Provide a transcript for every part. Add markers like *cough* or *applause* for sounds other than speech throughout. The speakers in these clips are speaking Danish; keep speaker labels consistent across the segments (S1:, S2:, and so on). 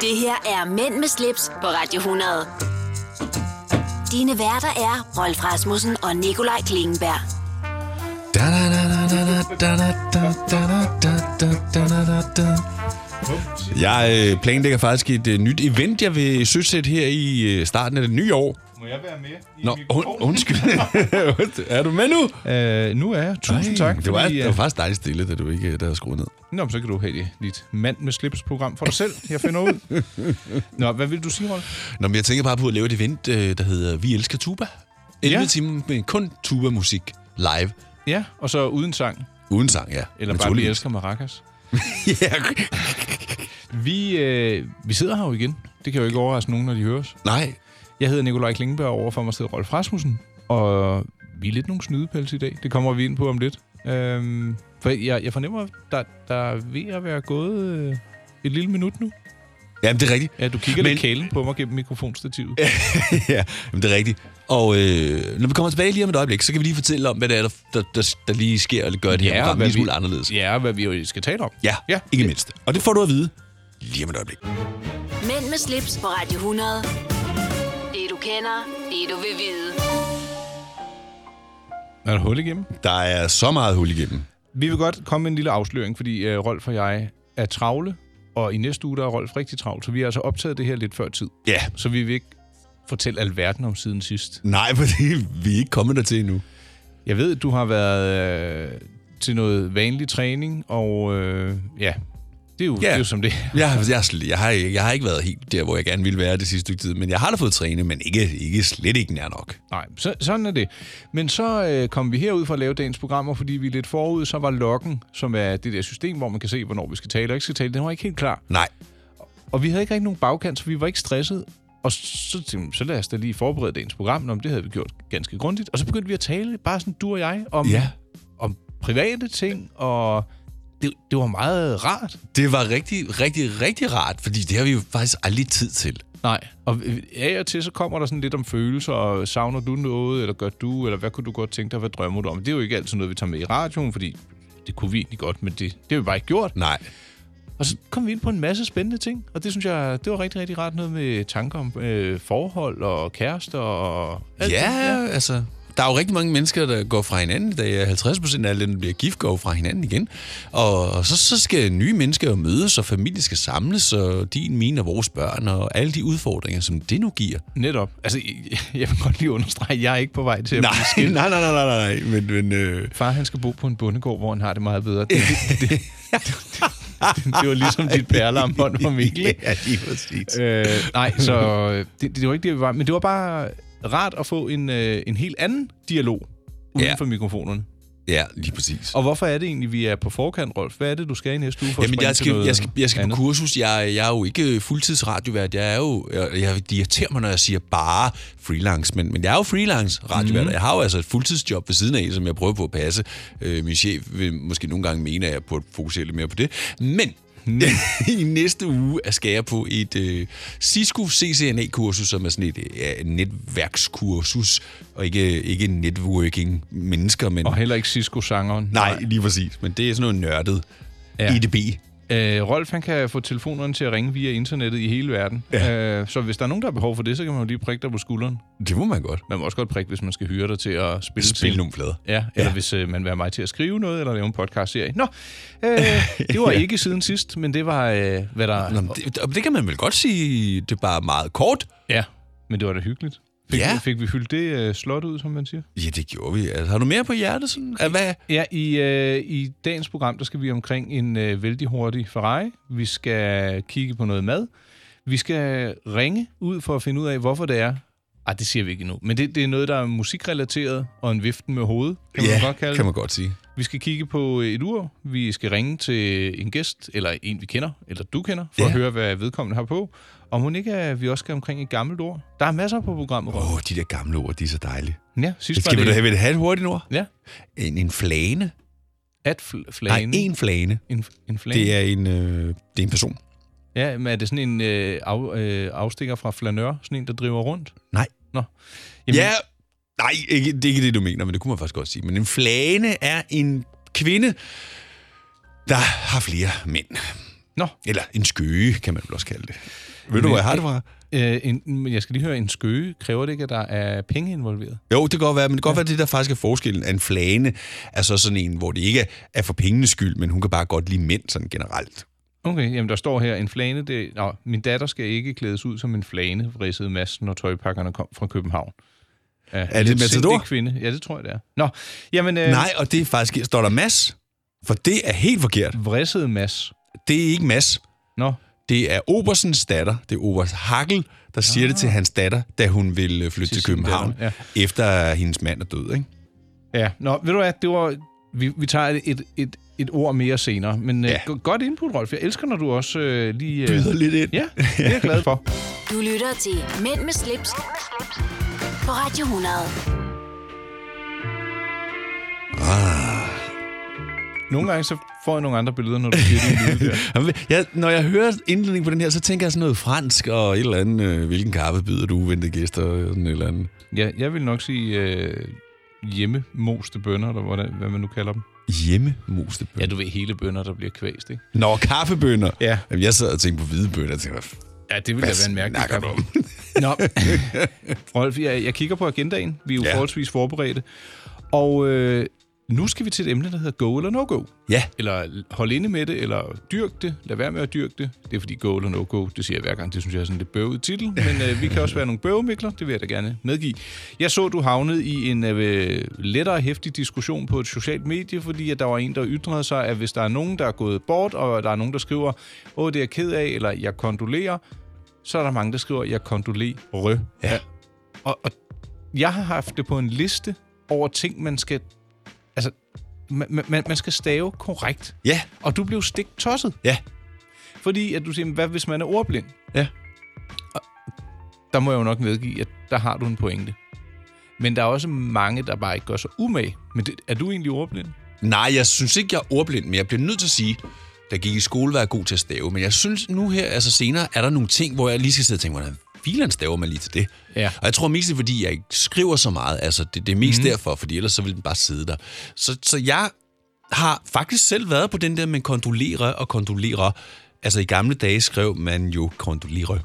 S1: Det her er Mænd med slips på Radio 100. Dine værter er Rolf Rasmussen og Nikolaj Klingenberg.
S2: Da, da, da, da, da, da, da, da, da, da, da, da, da, da, da. Jeg øh, planlægger faktisk et øh, nyt event, jeg vil søsætte her i øh, starten af det nye år.
S3: Må jeg være med? I
S2: Nå, und, undskyld. *laughs* er du med nu?
S3: Øh, nu er jeg. Tusind Ej, tak.
S2: Det var,
S3: fordi,
S2: det var
S3: øh,
S2: faktisk dejligt stille, da du ikke øh, der havde skruet ned.
S3: Nå, men så kan du have dit, dit mand med slips-program for dig selv. Jeg finder ud. Nå, hvad vil du sige, Rolf?
S2: Nå, men jeg tænker bare på at lave et event, øh, der hedder Vi Elsker Tuba. 11
S3: Ja.
S2: ja. timer med kun tuba-musik live.
S3: Ja, og så uden sang.
S2: Uden sang, ja.
S3: Eller bare, vi elsker maracas.
S2: elsker. *laughs* ja.
S3: Vi, øh, vi sidder her jo igen. Det kan jo ikke overraske nogen, når de høres.
S2: Nej,
S3: Jeg hedder Nikolaj Klingenberg, og overfor mig sidder Rolf Rasmussen. Og vi er lidt nogle snydepels i dag. Det kommer vi ind på om lidt. Øhm, for jeg, jeg fornemmer, at der, der er ved at være gået øh, et lille minut nu.
S2: jamen det er rigtigt.
S3: Ja, du kigger Men...
S2: Men-
S3: lidt kælen på mig gennem
S2: *laughs*
S3: mikrofonstativet.
S2: ja, jamen, det er rigtigt. Og øh, når vi kommer tilbage lige om et øjeblik, så kan vi lige fortælle om, hvad det er, der, der, der, der lige sker, eller gør det her
S3: og
S2: program
S3: hvad
S2: lige smule
S3: vi-
S2: anderledes.
S3: Ja, hvad vi jo skal tale om.
S2: Ja,
S3: Ja.
S2: ja, ikke mindst. Og det får du at vide lige om et øjeblik.
S1: Mænd med slips på Radio 100. Det du kender, det du vil vide.
S3: Er der hul igennem?
S2: Der er så meget hul igennem.
S3: Vi vil godt komme med en lille afsløring, fordi øh, Rolf og jeg er travle, og i næste uge der er Rolf rigtig travl, så vi har altså optaget det her lidt før tid.
S2: Ja,
S3: Så vi vil ikke fortælle alverden om siden sidst.
S2: nej, *laughs* for det, vi er ikke kommet dertil endnu.
S3: Jeg ved, du har været øh, til noget vanlig træning, og øh, ja, det er, jo, yeah. det er jo som det er.
S2: Jeg, jeg, jeg, har, jeg har ikke været helt der, hvor jeg gerne ville være det sidste stykke tid, men jeg har da fået trænet, men ikke, ikke slet ikke nær nok.
S3: Nej, så, sådan er det. Men så øh, kom vi herud for at lave dagens programmer, fordi vi er lidt forud, så var lokken, som er det der system, hvor man kan se, hvornår vi skal tale og ikke skal tale, den var ikke helt klar.
S2: Nej,
S3: Og vi havde ikke rigtig nogen bagkant, så vi var ikke stresset. Og så tænkte vi, så lad os da lige forberede dagens program. Nå, men det havde vi gjort ganske grundigt. Og så begyndte vi at tale, bare sådan du og jeg, om,
S2: Ja.
S3: om private ting, og det, det var meget rart.
S2: det var rigtig, rigtig, rigtig rart, fordi det har vi jo faktisk aldrig tid til.
S3: Nej. Og øh, af og til, så kommer der sådan lidt om følelser, og savner du noget, eller gør du, eller hvad kunne du godt tænke dig, hvad drømmer du om? Det er jo ikke altid noget, vi tager med i radioen, fordi det kunne vi egentlig godt, men det, det har vi bare ikke gjort.
S2: Nej,
S3: Og så kom vi ind på en masse spændende ting, og det synes jeg, det var rigtig, rigtig rart. Noget med tanker om øh, forhold og kærester og alt
S2: Ja,
S3: det.
S2: ja, altså... Der er jo rigtig mange mennesker, der går fra hinanden, da 50 procent af alle dem, der bliver gift, går fra hinanden igen. Og, og så, så skal nye mennesker jo mødes, og familie skal samles, og din, mine og vores børn, og alle de udfordringer, som det nu giver.
S3: Netop. Altså, jeg- *laughs* jeg vil godt lige understrege, at jeg er ikke på vej til at blive
S2: *laughs*
S3: skilt.
S2: nej, nej, nej, nej, nej. Men, men øh...
S3: Far, han skal bo på en bondegård, hvor han har det
S2: *laughs*
S3: meget bedre. Det, det, det, *laughs* det, det, det var ligesom dit perlearmbånd
S2: *laughs*
S3: for Mikkel. ikke?
S2: Ja, lige præcis.
S3: Øh, nej, så øh, det, det var ikke det, vi var. Men det var bare rart at få en, øh, en helt anden dialog uden
S2: Ja.
S3: for mikrofonerne.
S2: Ja, lige præcis.
S3: Og hvorfor er det egentlig, vi er på forkant, Rolf? Hvad er det, du skal i næste uge for at
S2: Jamen,
S3: springe
S2: jeg
S3: til
S2: skal,
S3: noget
S2: jeg skal, jeg skal på
S3: andet?
S2: kursus. Jeg, jeg er jo ikke øh, fuldtidsradiovært. Jeg er jo... Jeg, jeg, det irriterer mig, når jeg siger bare freelance, men, men jeg er jo freelance radiovært.
S3: Mhm.
S2: Mm. Jeg har jo altså et fuldtidsjob ved siden af, som jeg prøver på at passe. Øh, min chef vil måske nogle gange mene, at jeg burde fokusere lidt mere på det. Men...
S3: Mhm.
S2: *laughs* I næste uge er- skal jeg på et øh, Cisco CCNA-kursus, som er sådan et øh, netværkskursus, og ikke, ikke networking mennesker, men...
S3: Og heller ikke Cisco-sangeren.
S2: Nej, lige præcis. Men det er sådan noget nørdet.
S3: Ja.
S2: Ja. EDB.
S3: Øh, Rolf, han kan få telefonerne til at ringe via internettet i hele verden. Ja. Øh, så hvis der er nogen, der har behov for det, så kan man jo lige prikke dig på skulderen.
S2: Det må man godt.
S3: Man må også godt prikke, hvis man skal hyre dig til at spille.
S2: Spil nogle flader.
S3: Ja, eller ja. hvis øh, man vil have mig til at skrive noget, eller lave en podcastserie. Nå, øh,
S2: *laughs*
S3: det var ikke siden sidst, men det var, øh, hvad der...
S2: Nå, men det, og det kan man vel godt sige, det er bare meget kort.
S3: Ja, men det var da hyggeligt. Fik,
S2: Ja.
S3: vi, fik vi hyldt det øh, slot ud, som man siger?
S2: Ja, det gjorde vi. Altså, har du mere på hjertet? Sådan? Ah, Hvad?
S3: Ja, i, øh, i dagens program, der skal vi omkring en øh, vældig hurtig Ferrari. Vi skal kigge på noget mad. Vi skal ringe ud for at finde ud af, hvorfor det er. Ej, det siger vi ikke endnu. Men det, det er noget, der er musikrelateret og en viften med hovedet, kan man godt kalde
S2: kan
S3: det.
S2: man godt sige.
S3: Vi skal kigge på øh, et ur. Vi skal ringe til en gæst, eller en, vi kender, eller du kender, for ja.
S2: Ja.
S3: at høre, hvad vedkommende har på. Og må ikke, at vi også skal omkring et gammelt ord. Der er masser på programmet. Rolf.
S2: Åh, oh, de der gamle ord, de er så dejlige.
S3: Ja, sidst var
S2: Skal vi
S3: det...
S2: da have, have et hurtigt ord?
S3: Ja,
S2: En, en flane.
S3: at fl-
S2: Nej,
S3: flane.
S2: en flane.
S3: En, en flane.
S2: Det er en, øh, det er en person.
S3: Ja, men er det sådan en øh, af, øh, afstikker fra flanør? Sådan en, der driver rundt?
S2: Nej.
S3: Nå.
S2: Jamen. Ja, nej, ikke, det er ikke det, du mener, men det kunne man faktisk godt sige. Men en flane er en kvinde, der har flere mænd.
S3: Nå,
S2: Eller en skøge, kan man vel også kalde det. Ved du, hvor jeg har det fra?
S3: øh, en, men jeg skal lige høre, en skøge, kræver det ikke, at der er penge involveret?
S2: Jo, det kan godt være, men det kan godt være, at det der faktisk er forskellen af en flane, er så sådan en, hvor det ikke er for pengenes skyld, men hun kan bare godt lide mænd sådan generelt.
S3: Okay, jamen der står her, en flane, det, nå, min datter skal ikke klædes ud som en flane, vridsede massen, når tøjpakkerne kom fra København. Ja, en
S2: det
S3: lidt
S2: Matador?
S3: sindig kvinde. Ja, det tror jeg, det er. Nå, jamen, øh,
S2: Øh. Nej, og det er faktisk, står der mas, for det er helt forkert.
S3: vridsede mas.
S2: Det er ikke mas.
S3: Nå,
S2: Det er Obersens datter, det er Obers Hakkel, der siger det til hans datter, da hun vil øh, flytte til,
S3: Til
S2: til
S3: sin
S2: København,
S3: datter,
S2: ja. efter at hendes mand er død, ikke?
S3: ja. Nå, ved du hvad, det var, vi, vi tager et, et, et, et ord mere senere, men ja.
S2: Ja.
S3: øh, go- godt input, Rolf. Jeg elsker, når du også øh, lige... Øh,
S2: Byder lidt ind.
S3: ja, det er jeg glad *laughs* for.
S1: Du lytter til Mænd med slips, Mænd med slips. på Radio 100.
S3: Nogle gange så får jeg nogle andre billeder, når du siger det. *laughs* lyde der.
S2: Jamen, Jeg, når jeg hører indledningen på den her, så tænker jeg sådan noget fransk og et eller andet, øh, hvilken kaffe byder du uventede gæster, og sådan et eller andet.
S3: Ja, jeg vil nok sige øh, hjemmemoste bønder, eller hvordan, hvad man nu kalder dem.
S2: Hjemmemoste bønner.
S3: du ved, hele bønder, der bliver kvæst, ikke?
S2: Nå, kaffebønner.
S3: Ja.
S2: Jamen, jeg sad og tænkte på hvide bønner, og tænkte, hvad
S3: Ja, det ville da være en mærkelig
S2: snakker du
S3: kamp.
S2: om?
S3: *laughs* Nå, Rolf, jeg, jeg kigger på agendaen. Vi er jo ja.
S2: Ja.
S3: forholdsvis forberedte. Og øh, nu skal vi til et emne, der hedder go eller no-go.
S2: Ja,
S3: Eller hold inde med det, eller dyrk det. Lad være med at dyrke det. Det er fordi go eller no-go, det siger jeg hver gang. Det synes jeg er sådan en lidt bøvet titel. Men øh, vi kan også være nogle bøvemikler, det vil jeg da gerne medgive. Jeg så, du havnede i en øh, lettere hæftig diskussion på et socialt medie, fordi at der var en, der ytrede sig, at hvis der er nogen, der er gået bort, og der er nogen, der skriver, åh, det er jeg ked af, eller jeg kondolerer, så er der mange, der skriver, jeg kondolerer.
S2: Ja.
S3: Og, og jeg har haft det på en liste over ting, man skal... Altså, man, man, man skal stave korrekt.
S2: ja,
S3: Og du blev stik tosset,
S2: ja.
S3: fordi at du siger, hvad hvis man er ordblind?
S2: Ja.
S3: Og der må jeg jo nok medgive, at der har du en pointe. Men der er også mange, der bare ikke gør sig umage. Men det, er du egentlig ordblind?
S2: Nej, jeg synes ikke, jeg er ordblind, men jeg bliver nødt til at sige, der gik i skole, var jeg god til at stave. Men jeg synes nu her, altså senere, er der nogle ting, hvor jeg lige skal sidde og tænke, hvordan filen staver man lige til det?
S3: Ja.
S2: Og jeg tror mest, det er, fordi jeg ikke skriver så meget. Altså, det, det er mest mm. derfor, fordi ellers så ville den bare sidde der. Så, så jeg har faktisk selv været på den der med kondolere og kondolere. Altså, i gamle dage skrev man jo kondolere.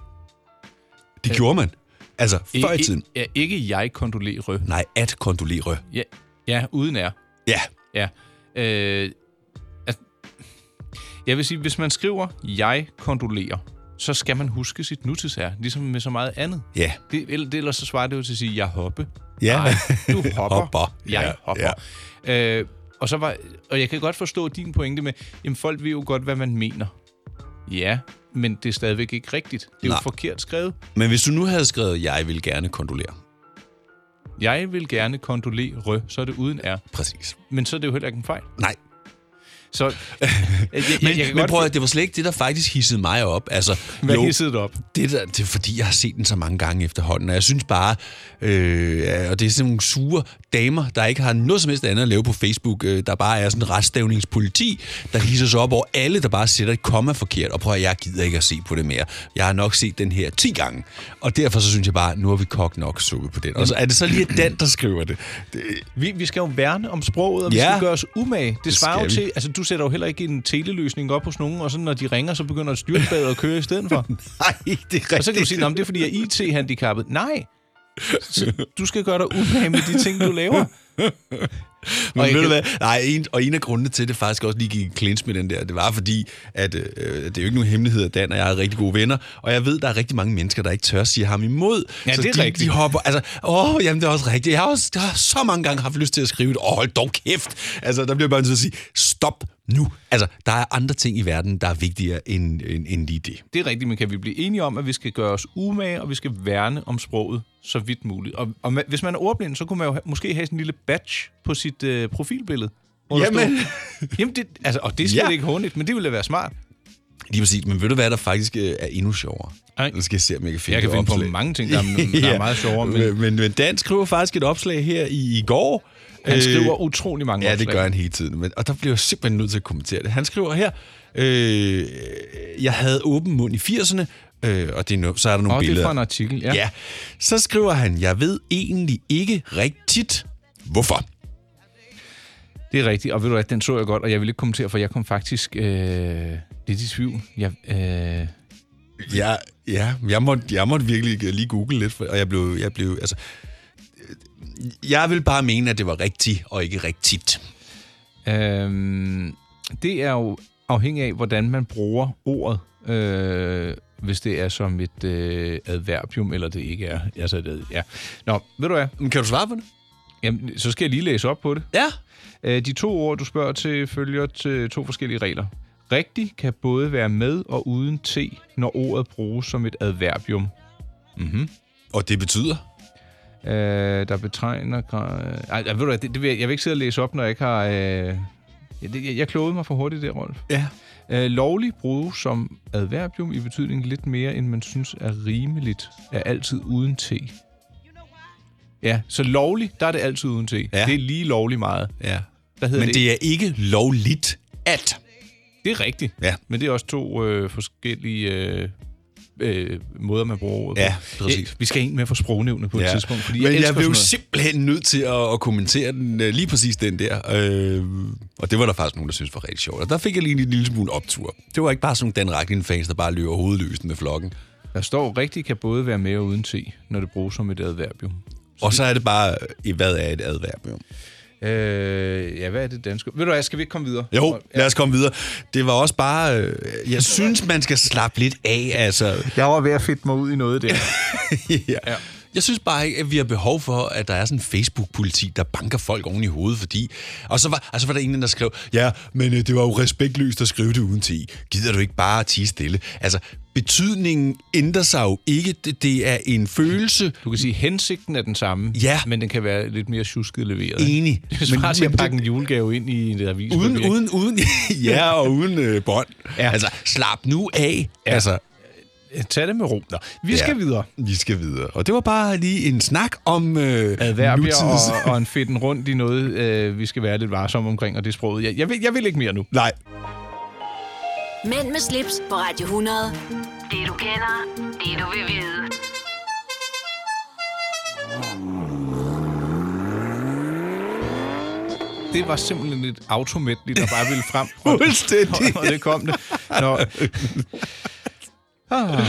S2: Det gjorde man. Altså, før Øh. i tiden.
S3: Ja, ikke jeg kondolerer.
S2: Nej, at kondolere.
S3: Ja, ja uden er.
S2: Ja,
S3: Ja. Øh, altså, jeg vil sige, hvis man skriver, jeg kondolerer, så skal man huske sit nutidsære, ligesom med så meget andet.
S2: ja.
S3: Det, eller- det, ellers så svarer det jo til at sige, jeg hoppe.
S2: Ja. *laughs*
S3: Nej, du hopper.
S2: Hopper.
S3: Jeg
S2: Ja,
S3: hopper. Ja. Øh, og, så var, og jeg kan godt forstå din pointe med, jamen folk ved jo godt, hvad man mener. Ja, men det er stadigvæk ikke rigtigt. Det er Nej.
S2: Nej.
S3: jo forkert skrevet.
S2: Men hvis du nu havde skrevet, jeg vil gerne kondolere.
S3: Jeg vil gerne kondolere, så er det uden er.
S2: Præcis.
S3: Men så er det jo heller ikke en fejl.
S2: Nej,
S3: Så, øh,
S2: *laughs*
S3: jeg, jeg,
S2: men,
S3: jeg kan
S2: men
S3: godt
S2: prøv at, det var slet ikke det, der faktisk hissede mig op. Altså,
S3: Hvad
S2: jo,
S3: hissede det op?
S2: det, der, det er fordi, jeg har set den så mange gange efterhånden, og jeg synes bare, øh, ja, og det er sådan nogle sure damer, der ikke har noget som helst andet at lave på Facebook, øh, der bare er sådan en retstavningspoliti, der hisser sig op over alle, der bare sætter et komma forkert, og prøv at jeg gider ikke at se på det mere. Jeg har nok set den her 10 gange, og derfor så synes jeg bare, nu har vi kogt nok suppe på den. Og så er det så lige den, der skriver det. det *laughs*
S3: Vi, vi skal jo værne om sproget, og vi
S2: Ja.
S3: skal gøre os umage. Det svarer jo
S2: skal vi.
S3: til, altså du sætter jo heller ikke en teleløsning op hos nogen, og så når de ringer, så begynder styrtbadet at køre i stedet
S2: *laughs*
S3: for.
S2: nej, det er rigtigt.
S3: Og så kan du sige, at det er fordi, jeg er IT-handicappet. Nej, så, du skal gøre dig umage med de ting, du laver.
S2: Men
S3: Og
S2: ved
S3: jeg
S2: du
S3: kan-
S2: hvad? Nej, en, og en af grundene til, at det faktisk også lige gik i clinch med den der, det var fordi, at øh, det er jo ikke nogen hemmelighed, at Dan og jeg er rigtig gode venner, og jeg ved, der er rigtig mange mennesker, der ikke tør sige ham imod.
S3: Ja,
S2: så
S3: det er
S2: de,
S3: rigtigt.
S2: de hopper, altså, åh, jamen det er også rigtigt. Jeg har, også, jeg har så mange gange haft lyst til at skrive et, åh, hold dog kæft. Altså, der bliver jeg bare nødt til at sige, stop nu. Altså, der er andre ting i verden, der er vigtigere end, end, end lige det.
S3: Det er rigtigt, men kan vi blive enige om, at vi skal gøre os umage, og vi skal værne om sproget så vidt muligt. Og, og ma- hvis man er ordblind, så kunne man jo ha- måske have sådan en lille badge på sit øh, profilbillede. hvor der
S2: Jamen.
S3: stod- Jamen det, altså, og det er slet
S2: Ja.
S3: ikke håndligt, men det ville da være smart.
S2: Lige præcis, men ved du hvad, der faktisk øh, er endnu sjovere?
S3: Ej.
S2: Nu skal jeg se, om jeg kan finde
S3: Jeg kan
S2: det
S3: finde på
S2: opslag.
S3: mange ting, der er, Mm,
S2: *laughs*
S3: der er meget sjovere, men
S2: men, men, men Dan skriver faktisk et opslag her i, i går. Øh,
S3: han skriver utrolig mange
S2: Ja,
S3: opslag.
S2: det gør han hele tiden. Men, og der bliver jeg simpelthen nødt til at kommentere det. Han skriver her, øh, jeg havde åben mund i 80'erne, øh, og det er no, så er der nogle
S3: Og det er
S2: billeder.
S3: fra en artikel, ja.
S2: ja. ja. Så skriver han, jeg ved egentlig ikke rigtigt, hvorfor.
S3: Det er rigtigt, og ved du hvad, den så jeg godt, og jeg ville ikke kommentere, for jeg kom faktisk øh, lidt i tvivl. Jeg, øh,
S2: Ja, ja jeg, måtte, jeg måtte virkelig lige google lidt, for, og jeg blev, jeg blev... Altså, øh, jeg vil bare mene, at det var rigtigt og ikke rigtigt.
S3: Øhm, det er jo afhængig af, hvordan man bruger ordet. Øh, hvis det er som et øh, adverbium, eller det ikke er. Altså, det, ja. Nå, ved du hvad?
S2: Men kan du svare på det?
S3: Jamen, så skal jeg lige læse op på det.
S2: Ja.
S3: Øh, de to ord, du spørger til, følger til to forskellige regler. Rigtig kan både være med og uden t, når ordet bruges som et adverbium.
S2: Og det betyder?
S3: øh, der betegner... gra- Ej, ved du hvad, det, det vil jeg, jeg vil ikke sidde og læse op, når jeg ikke har... Øh, ja, det, jeg, jeg klogede mig for hurtigt der, Rolf.
S2: Ja.
S3: Øh, lovlig bruges som adverbium i betydningen lidt mere, end man synes er rimeligt, er altid uden t. Ja, så lovlig, der er det altid uden t. Ja. Det er lige lovlig meget.
S2: ja.
S3: Hvad hedder
S2: Men
S3: det?
S2: det er ikke lovligt at...
S3: Det er rigtigt.
S2: Ja.
S3: Men det er også to øh, forskellige øh, øh, måder, man bruger ordet
S2: Ja,
S3: på.
S2: præcis.
S3: Øh, Vi skal ind med for sprognævne på ja. et tidspunkt, fordi
S2: Men jeg,
S3: elsker
S2: blev
S3: sådan
S2: jo
S3: noget.
S2: simpelthen nødt til at, at kommentere den, øh, lige præcis den der. Øh, og det var der faktisk nogen, der synes var rigtig sjovt. Og der fik jeg lige en lille smule optur. Det var ikke bare sådan nogle Dan Racklin-fans, der bare løber hovedløst med flokken.
S3: Der står, rigtigt kan både være med og uden t, når det bruges som et adverbium.
S2: Og så er det bare, øh, hvad er et adverbium?
S3: Øh, ja, hvad er det danske? Ved du hvad, skal vi ikke komme videre?
S2: Jo, lad os komme videre. Det var også bare... Øh, jeg synes, man skal slappe lidt af, altså.
S3: Jeg var ved at fedte mig ud i noget der.
S2: ja. Jeg synes bare ikke, at vi har behov for, at der er sådan en Facebook-politi, der banker folk oven i hovedet, fordi... Og så var, og så var der en, der skrev, ja, men øh, det var jo respektløst at skrive det uden ti. Gider du ikke bare at tige stille? Altså, betydningen ændrer sig jo ikke. Det, det er en følelse,
S3: *laughs* Du kan sige, at hensigten er den samme,
S2: Ja.
S3: men den kan være lidt mere tjusket leveret.
S2: Enig.
S3: Det er
S2: Men-
S3: bare til
S2: jamen,
S3: at pakke en julegave ind i en avis.
S2: uden, uden, uden, *laughs* ja, og uden øh, bånd. Ja. Altså, slap nu af. Ja. Altså,
S3: Tag det med ro. Nå, vi skal
S2: Ja.
S3: videre.
S2: vi skal videre. Og det var bare lige en snak om øh,
S3: Adverbier
S2: nutidens...
S3: *laughs* og, og en fedten rundt i noget, øh, vi skal være lidt varsomme omkring, og det er sproget. Jeg, jeg, vil, jeg vil ikke mere nu.
S2: *laughs* Nej,
S1: Mænd med slips på Radio 100. Det du kender, det du vil vide.
S3: Det var simpelthen et automætligt, der bare ville *laughs* frem.
S2: fuldstændig.
S3: og det kom det. Nå, *laughs*
S2: Åh,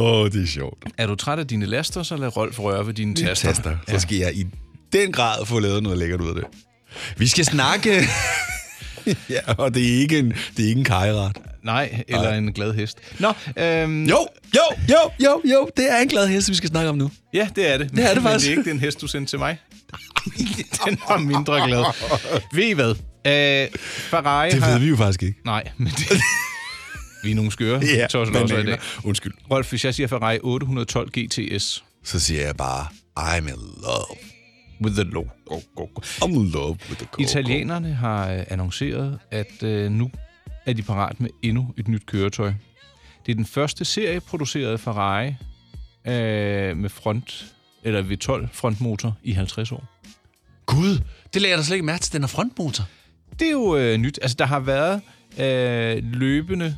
S2: oh, det er sjovt.
S3: er du træt af dine laster, så lad Rolf røre ved dine taster.
S2: taster. Så skal jeg i den grad få lavet noget lækkert ud af det. Vi skal snakke... *laughs* ja, og det er ikke en, det er ikke en kajeret.
S3: Nej, eller en glad hest. Nå, øhm,
S2: Jo, jo, jo, jo, jo. Det er en glad hest, vi skal snakke om nu.
S3: ja, det er det. Men
S2: er det
S3: Men
S2: faktisk.
S3: det er ikke den hest, du sendte til mig. *laughs* den var mindre glad. Ved I hvad? Øh, Ferrari
S2: Det
S3: har...
S2: ved vi jo faktisk ikke.
S3: Nej, men det... vi er nogle skøre. tosser også i dag.
S2: Undskyld.
S3: Rolf, hvis jeg siger Ferrari 812 GTS
S2: Så siger jeg bare, I'm in love.
S3: with the low. Go, go, go.
S2: I'm in love with the coco.
S3: Italienerne har øh, annonceret, at øh, nu er de parat med endnu et nyt køretøj. Det er den første serie produceret Ferrari øh, med front eller V12 frontmotor i 50 år.
S2: Gud, det lagde jeg da slet ikke mærke til. Den er frontmotor.
S3: Det er jo øh, nyt. Altså, der har været øh, løbende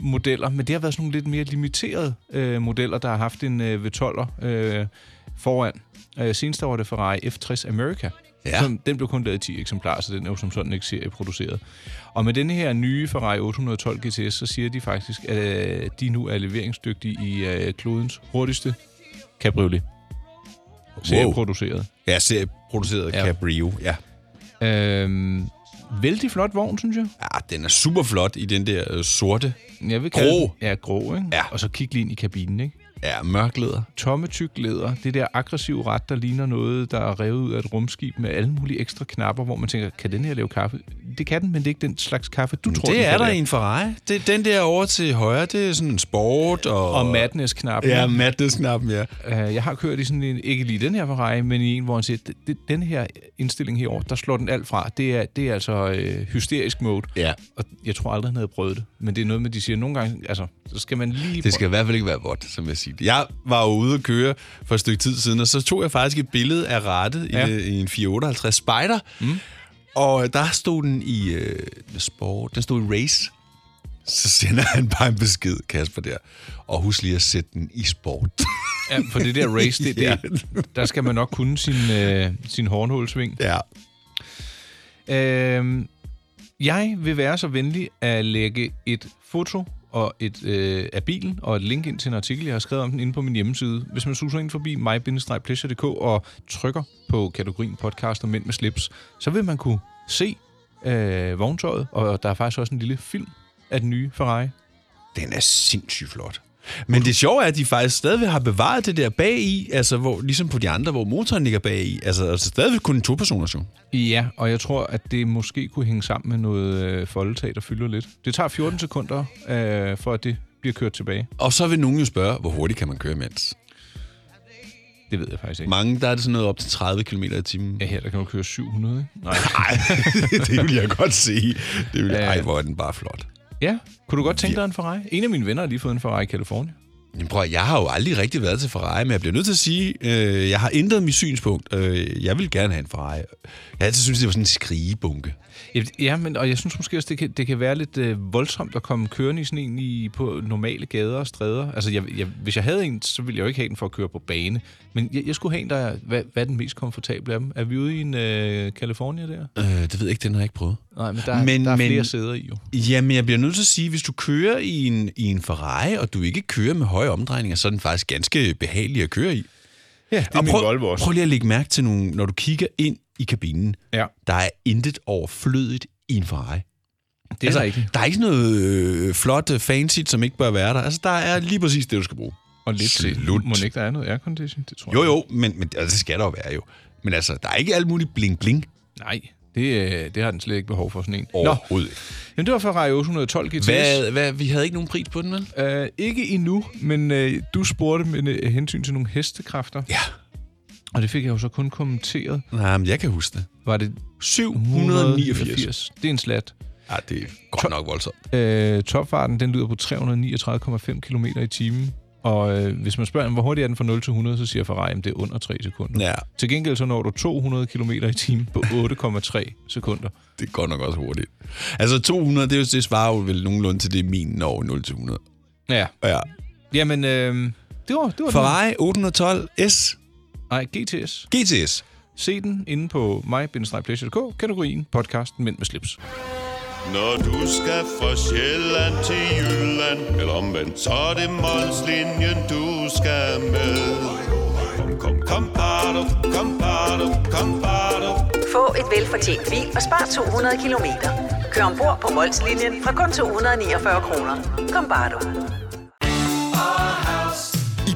S3: modeller, men det har været sådan nogle lidt mere limiterede øh, modeller, der har haft en øh, V12'er øh, foran. Øh, senest der var det Ferrari F60 America.
S2: Ja.
S3: Som, den blev kun lavet i 10 eksemplarer, så den er jo som sådan ikke serieproduceret. Og med den her nye Ferrari 812 GTS, så siger de faktisk, at øh, de nu er leveringsdygtige i øh, klodens hurtigste cabriolet. Serieproduceret.
S2: Ja, serieproduceret
S3: Ja.
S2: ja. Cabrio. Ja.
S3: Øh, vældig flot vogn, synes jeg.
S2: ja, den er super flot i den der øh, sorte.
S3: Jeg vil kalde
S2: Grå.
S3: den- Ja, grå, ikke?
S2: Ja.
S3: Og så kig lige ind i kabinen, ikke?
S2: Ja, mørklæder.
S3: Tomme tyk læder, det der aggressive ret, der ligner noget, der er revet ud af et rumskib med alle mulige ekstra knapper, hvor man tænker, kan den her lave kaffe? Det kan den, men det er ikke den slags kaffe, du tror, den
S2: Det er
S3: kan
S2: der
S3: lave.
S2: i en Ferrari. Det, den der over til højre, det er sådan en sport og...
S3: Og madness-knappen.
S2: Ja,
S3: ikke?
S2: madness-knappen, ja.
S3: Øh, Jeg har kørt i sådan en, ikke lige den her Ferrari, men i en, hvor han siger, "Det- det- den her indstilling herovre, der slår den alt fra. Det er, det er altså øh, hysterisk mode.
S2: Ja.
S3: Og jeg tror aldrig, han havde prøvet det. Men det er noget med, de siger, nogle gange, altså, så skal man lige...
S2: Det skal i hvert fald ikke være vådt, som jeg siger. Jeg var jo ude at køre for et stykke tid siden, og så tog jeg faktisk et billede af rattet
S3: Ja.
S2: ja. i, i en 458 Spider. Mm. Og der stod den i øh, sport, den stod i race. Så sender han bare en besked, Kasper, der. Og husk lige at sætte den i sport. *laughs*
S3: Ja, for det der race, det, det,
S2: Ja.
S3: der skal man nok kunne sin, øh, sin hornhulsving.
S2: ja.
S3: Øhm, jeg vil være så venlig at lægge et foto og et, øh, af bilen og et link ind til en artikel, jeg har skrevet om den inde på min hjemmeside. Hvis man suser ind forbi mig og trykker på kategorien podcast og mænd med slips, så vil man kunne se øh, vogntøjet, og der er faktisk også en lille film af den nye Ferrari.
S2: Den er sindssygt flot. Men det sjove er, at de faktisk stadigvæk har bevaret det der bag i, altså hvor, ligesom på de andre, hvor motoren ligger bag i. Altså, altså stadigvæk kun to personer, jo.
S3: Ja, og jeg tror, at det måske kunne hænge sammen med noget øh, foldetag, der fylder lidt. Det tager 14 sekunder, øh, for at det bliver kørt tilbage.
S2: Og så vil nogen jo spørge, hvor hurtigt kan man køre imens?
S3: Det ved jeg faktisk ikke.
S2: Mange, der er det sådan noget op til 30 km i timen.
S3: Ja, her der kan man køre 700, ikke? Nej.
S2: Nej, *laughs* det vil jeg godt se. Det vil, ej, hvor er den bare flot.
S3: Ja, kunne du godt tænke dig en Ferrari? En af mine venner har lige fået en Ferrari i Kalifornien.
S2: Jamen, prøv, at- jeg har jo aldrig rigtig været til Ferrari, men jeg bliver nødt til at sige, øh, jeg har ændret mit synspunkt. Øh, jeg vil gerne have en Ferrari. Jeg har altid synes det var sådan en skrigebunke.
S3: Ja, men, og jeg synes måske også, det kan, det kan være lidt øh, voldsomt at komme kørende i sådan en i, på normale gader og stræder. Altså, jeg, jeg, hvis jeg havde en, så ville jeg jo ikke have den for at køre på bane. Men jeg, jeg skulle have en, der er, hvad, hvad er den mest komfortable af dem? Er vi ude i en øh, California der?
S2: Øh, det ved jeg ikke, den har jeg ikke prøvet.
S3: Nej, men der, er-
S2: Men-
S3: der er
S2: men-
S3: flere sæder i jo.
S2: Jamen, jeg bliver nødt til at sige, hvis du kører i en, i en Ferrari, og du ikke kører med høje omdrejninger, så er den faktisk ganske behagelig at køre i.
S3: Ja, det
S2: Og prøv, prøv lige at lægge mærke til nogle, når du kigger ind i kabinen,
S3: Ja,
S2: der er intet overflødigt i en Ferrari.
S3: det er altså, rigtigt.
S2: Der er ikke sådan noget øh, flot øh, fancy, som ikke bør være der. Altså, der er lige præcis det, du skal bruge.
S3: Og lidt til.
S2: Slut.
S3: Må ikke der er noget aircondition? Det tror
S2: Jo,
S3: jeg.
S2: jo, men, men altså, det skal der jo være jo. Men altså, der er ikke alt muligt bling-bling
S3: Nej, det, øh, det har den slet ikke behov for sådan en. Nå,
S2: overhovedet. Nå.
S3: men det var Ferrari 812 GTS.
S2: Hvad, hvad, vi havde ikke nogen pris på den, vel?
S3: Uh, ikke endnu, men uh, du spurgte med uh, hensyn til nogle hestekræfter,
S2: Ja.
S3: og det fik jeg jo så kun kommenteret.
S2: Nej, men jeg kan huske det.
S3: Var det
S2: 789.
S3: Det er en slat.
S2: Ja, det er godt nok voldsomt.
S3: Uh, topfarten den lyder på 339,5 km i timen, og uh, hvis man spørger, hvor hurtigt er den fra 0 til 100, så siger Ferrari, at det er under 3 sekunder.
S2: Ja,
S3: Til gengæld så når du 200 km i timen
S2: *laughs*
S3: på 8,3 sekunder.
S2: det er godt nok også hurtigt. Altså, 200, det, er jo- det svarer jo vel nogenlunde til det, min når 0 til 100.
S3: Ja,
S2: Ja.
S3: jamen, øh, det var det. Var
S2: Ferrari 812 S
S3: den. Nej, GTS.
S2: GTS.
S3: Se den inde på mig-pleasure.dk, kategorien podcasten Mænd med slips.
S4: Når du skal fra Sjælland til Jylland Eller omvendt Så er det Molslinjen du skal med Kom, kom, kom, bado, kom, bado, kom, bado.
S5: Få et velfortjent bil og spar 200 kilometer. Kør ombord på Molslinjen fra kun 249 kroner. Kom bare du.
S6: I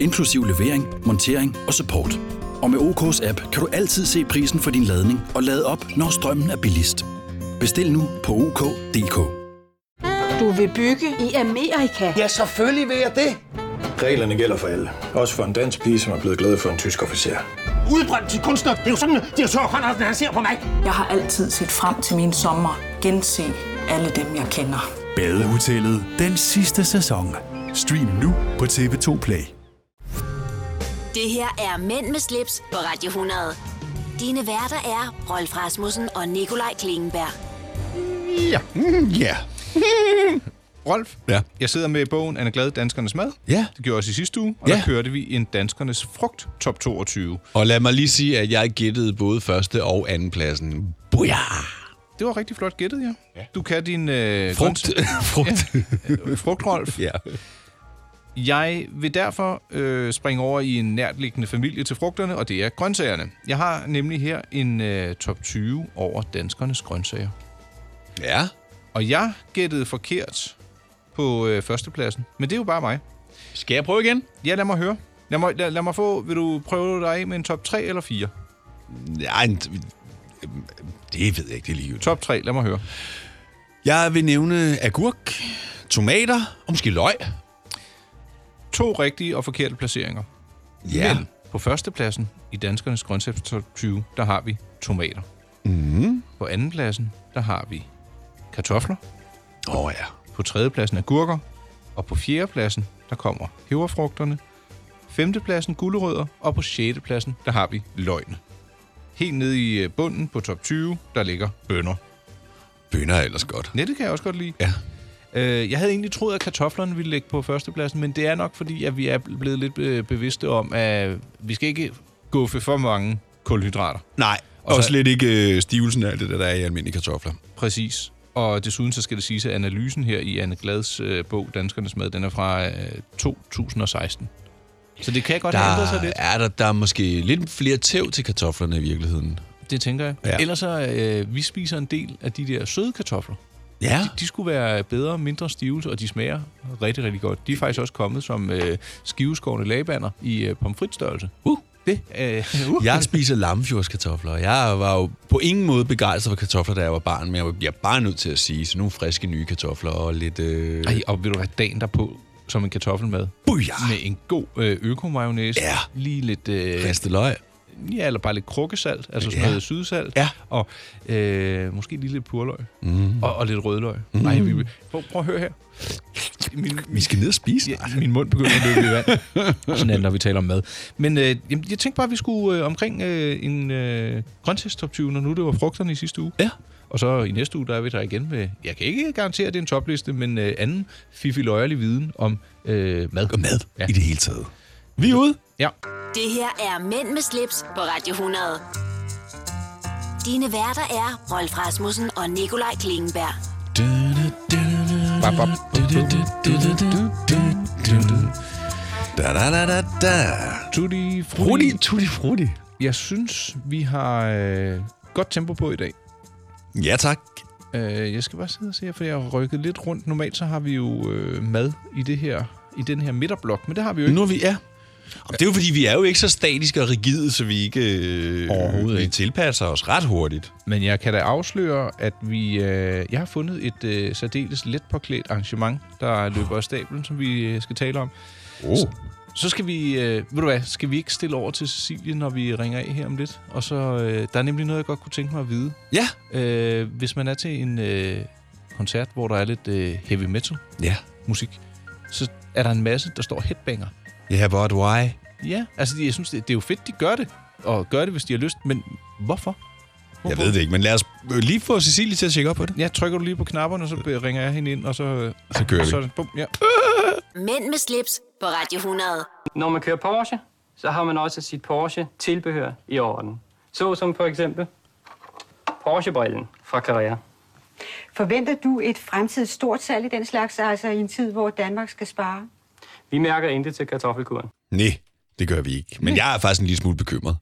S7: inklusiv levering, montering og support. Og med OK's app kan du altid se prisen for din ladning og lade op, når strømmen er billigst. Bestil nu på OK.dk.
S8: Du vil bygge i Amerika?
S9: Reglerne gælder for alle. Også for en dansk pige, som er blevet glad for en tysk officer.
S10: udbrændt til kunstner. Det er jo sådan, at de har tørt, han ser på mig.
S11: Jeg har altid set frem til min sommer, gense alle dem, jeg kender.
S7: Badehotellet. Den sidste sæson. Stream nu på TV2 Play.
S1: Det her er Mænd med slips på Radio 100. Dine værter er Rolf Rasmussen og Nikolaj Klingenberg.
S2: Ja.
S3: Rolf,
S2: Ja.
S3: jeg sidder med bogen Anna Glad, Danskernes Mad.
S2: Ja.
S3: Det gjorde jeg også i sidste uge, og
S2: Ja.
S3: der kørte vi en Danskernes Frugt Top 22.
S2: Og lad mig lige sige, at jeg gættede både første og anden pladsen. Booyah!
S3: Det var rigtig flot gættet, ja. ja. Du kan din... Øh,
S2: Frugt. *laughs* Frugt.
S3: grønts- Frugt,
S2: *laughs*
S3: Rolf.
S2: Ja.
S3: Jeg vil derfor øh, springe over i en nærtliggende familie til frugterne, og det er grøntsagerne. Jeg har nemlig her en øh, top 20 over danskernes grøntsager.
S2: Ja.
S3: Og jeg gættede forkert på øh, førstepladsen, men det er jo bare mig.
S2: Skal jeg prøve igen?
S3: Ja, lad mig høre. Lad mig, lad, lad mig få, vil du prøve dig af med en top 3 eller 4?
S2: Nej, en- det ved jeg ikke, det er lige
S3: Top 3, lad mig høre.
S2: Jeg vil nævne agurk, tomater og måske løg.
S3: To rigtige og forkerte placeringer. Men på førstepladsen i danskernes grøntsags top 20, der har vi tomater. Mm. På andenpladsen, der har vi kartofler.
S2: Åh oh, ja.
S3: På tredjepladsen agurker. Og på fjerdepladsen, der kommer peberfrugterne. Femtepladsen gulerødder. Og på sjettepladsen, der har vi løgne. Helt nede i øh, bunden på top 20, der ligger bønner.
S2: Bønner er ellers godt.
S3: Nettet kan jeg også godt lide.
S2: Ja.
S3: Øh, jeg havde egentlig troet, at kartoflerne ville ligge på førstepladsen, men det er nok fordi, at vi er blevet lidt øh, bevidste om, at vi skal ikke guffe for mange kulhydrater.
S2: Nej, og
S3: Og
S2: også
S3: så-
S2: slet ikke øh, stivelsen af alt det, der er i almindelige kartofler.
S3: Præcis. Og desuden så skal det siges, at analysen her i Anne Glads øh, bog, Danskernes Mad, den er fra øh, 2016. Så det kan godt der... have ændret sig lidt.
S2: er der, der er måske lidt flere tæv til kartoflerne i virkeligheden.
S3: Det tænker jeg.
S2: Ja.
S3: Ja. Ellers så, øh, vi spiser en del af de der søde kartofler.
S2: Ja.
S3: De, de skulle være bedre, mindre stive, og de smager rigtig, rigtig godt. De er faktisk også kommet som øh, skiveskårne lagbander i øh, pomfritstørrelse. Uh! Det, øh, uh.
S2: Jeg spiser lammefjordskartofler. Jeg var jo på ingen måde begejstret for kartofler, da jeg var barn, men jeg var- jeg er bare nødt til at sige, så nogle friske nye kartofler og lidt... Øh...
S3: Ej, og vil du have dagen derpå som en kartoffelmad?
S2: Booyah!
S3: Med en god øh, økomajonæse.
S2: Ja.
S3: Lige lidt... Øh,
S2: Ristet løg.
S3: Ja, eller bare lidt krukkesalt, altså sådan
S2: Ja.
S3: noget sydsalt.
S2: Ja.
S3: Og øh, måske lige lidt purløg.
S2: Mm.
S3: Og, og lidt rødløg.
S2: Mm.
S3: Mm. Ej, vi, prøv, prøv at høre her. Min,
S2: Vi skal ned og spise. Ja.
S3: min mund begynder at løbe i vand.
S2: *laughs*
S3: Sådan er det, når vi taler om mad. Men øh, jamen, jeg tænkte bare, at vi skulle øh, omkring øh, en øh, grøntsagstop 20, når nu det var frugterne i sidste uge.
S2: Ja.
S3: Og så i næste uge, der er vi der igen med, jeg kan ikke garantere, at det er en topliste, men øh, anden fifi viden om øh, mad.
S2: Og mad ja.
S3: Ja.
S2: i det hele taget. Vi er ude.
S3: Ja.
S1: Det her er Mænd med slips på Radio 100. Dine værter er Rolf Rasmussen og Nikolaj Klingenberg.
S3: Bap, bap.
S2: Da, da, da, da, da.
S3: Tutti frutti.
S2: Frutti, tutti frutti.
S3: Jeg synes, vi har øh, godt tempo på i dag.
S2: Ja, tak.
S3: Øh, jeg skal bare sidde og se, her, for jeg har rykket lidt rundt. Normalt så har vi jo øh, mad i det her i den her midterblok, men det har vi jo ikke.
S2: Nu er vi, ja. Og det er jo fordi, vi er jo ikke så statiske og rigide, så vi ikke... Øh,
S3: Overhovedet
S2: vi
S3: ikke.
S2: tilpasser os ret hurtigt.
S3: Men jeg kan da afsløre, at vi, øh, jeg har fundet et øh, særdeles let påklædt arrangement, der løber af stablen, som vi øh, skal tale om.
S2: Oh.
S3: Så skal vi, øh, ved du hvad, skal vi ikke stille over til Cecilie, når vi ringer af her om lidt? Og så, øh, der er nemlig noget, jeg godt kunne tænke mig at vide.
S2: Ja.
S3: Øh, hvis man er til en øh, koncert, hvor der er lidt øh, heavy metal
S2: Ja.
S3: musik, så er der en masse, der står headbanger.
S2: Yeah, but why?
S3: Ja, altså jeg synes, det, det er jo fedt, de gør det. Og gør det, hvis de har lyst. Men hvorfor?
S2: Jeg ved det ikke, men lad os øh, lige få Cecilie til at tjekke op på det.
S3: Ja, trykker du lige på knapperne, og så øh, ringer jeg hende ind, og så... øh,
S2: Så kører
S3: og
S2: vi.
S3: så, er det bum, ja.
S1: Mænd med slips på Radio 100.
S12: Når man kører Porsche, så har man også sit Porsche-tilbehør i orden. Så som for eksempel Porsche-brillen fra Carrera.
S13: Forventer du et fremtidigt stort salg i den slags, altså i en tid, hvor Danmark skal spare?
S12: Vi mærker intet til kartoffelkuren.
S2: Nej, det gør vi ikke. Men jeg er faktisk en lille smule bekymret.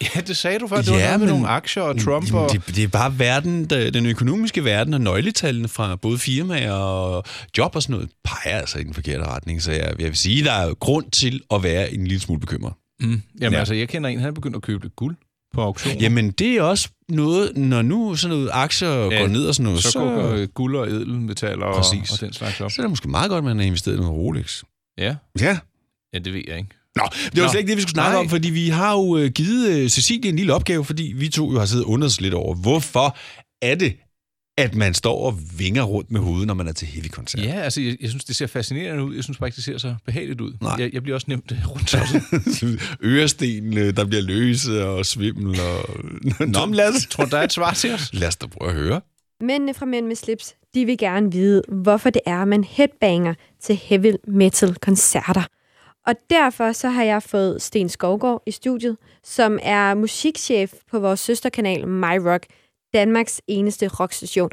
S3: ja, det sagde du før. Det ja, var noget med nogle aktier og Trump
S2: Jamen,
S3: og...
S2: Det, det er bare verden, der, den økonomiske verden og nøgletallene fra både firmaer og job og sådan noget, peger altså i den forkerte retning. Så jeg, jeg vil sige, der er grund til at være en lille smule bekymret.
S3: Mm, jamen
S2: Ja.
S3: ja. altså, jeg kender en, han er begyndt at købe lidt guld på auktion.
S2: Jamen, det er også noget, når nu sådan noget aktier ja, går ned og sådan noget, så,
S3: så, så går øh, guld og edelmetaller og,
S2: Præcis.
S3: og den slags op.
S2: så er det måske meget godt, at man har investeret i noget Rolex.
S3: Ja.
S2: Ja.
S3: ja, det ved jeg ikke.
S2: Nå, det var
S3: Nå.
S2: slet ikke det, vi skulle snakke
S3: Nej.
S2: om, fordi vi har jo øh, givet øh, Cecilie en lille opgave, fordi vi to jo har siddet og undret os lidt over, hvorfor er det, at man står og vinger rundt med hovedet, når man er til heavy-koncert.
S3: Ja, altså, jeg, jeg synes, det ser fascinerende ud. Jeg synes bare ikke, det ser så behageligt ud.
S2: Nej.
S3: Jeg, jeg bliver også nemt *laughs* øh, rundt om
S2: *laughs* Ørestenene, øh, der bliver løse og svimmel og... *laughs* Nå, men lad os,
S3: Tror du, der er et svar til os?
S2: lad os da prøve at høre.
S11: Mændene fra Mænd med slips, de vil gerne vide, hvorfor det er, man headbanger til heavy metal-koncerter. Og derfor så har jeg fået Sten Skovgaard i studiet, som er musikchef på vores søsterkanal My Rock, Danmarks eneste rockstation.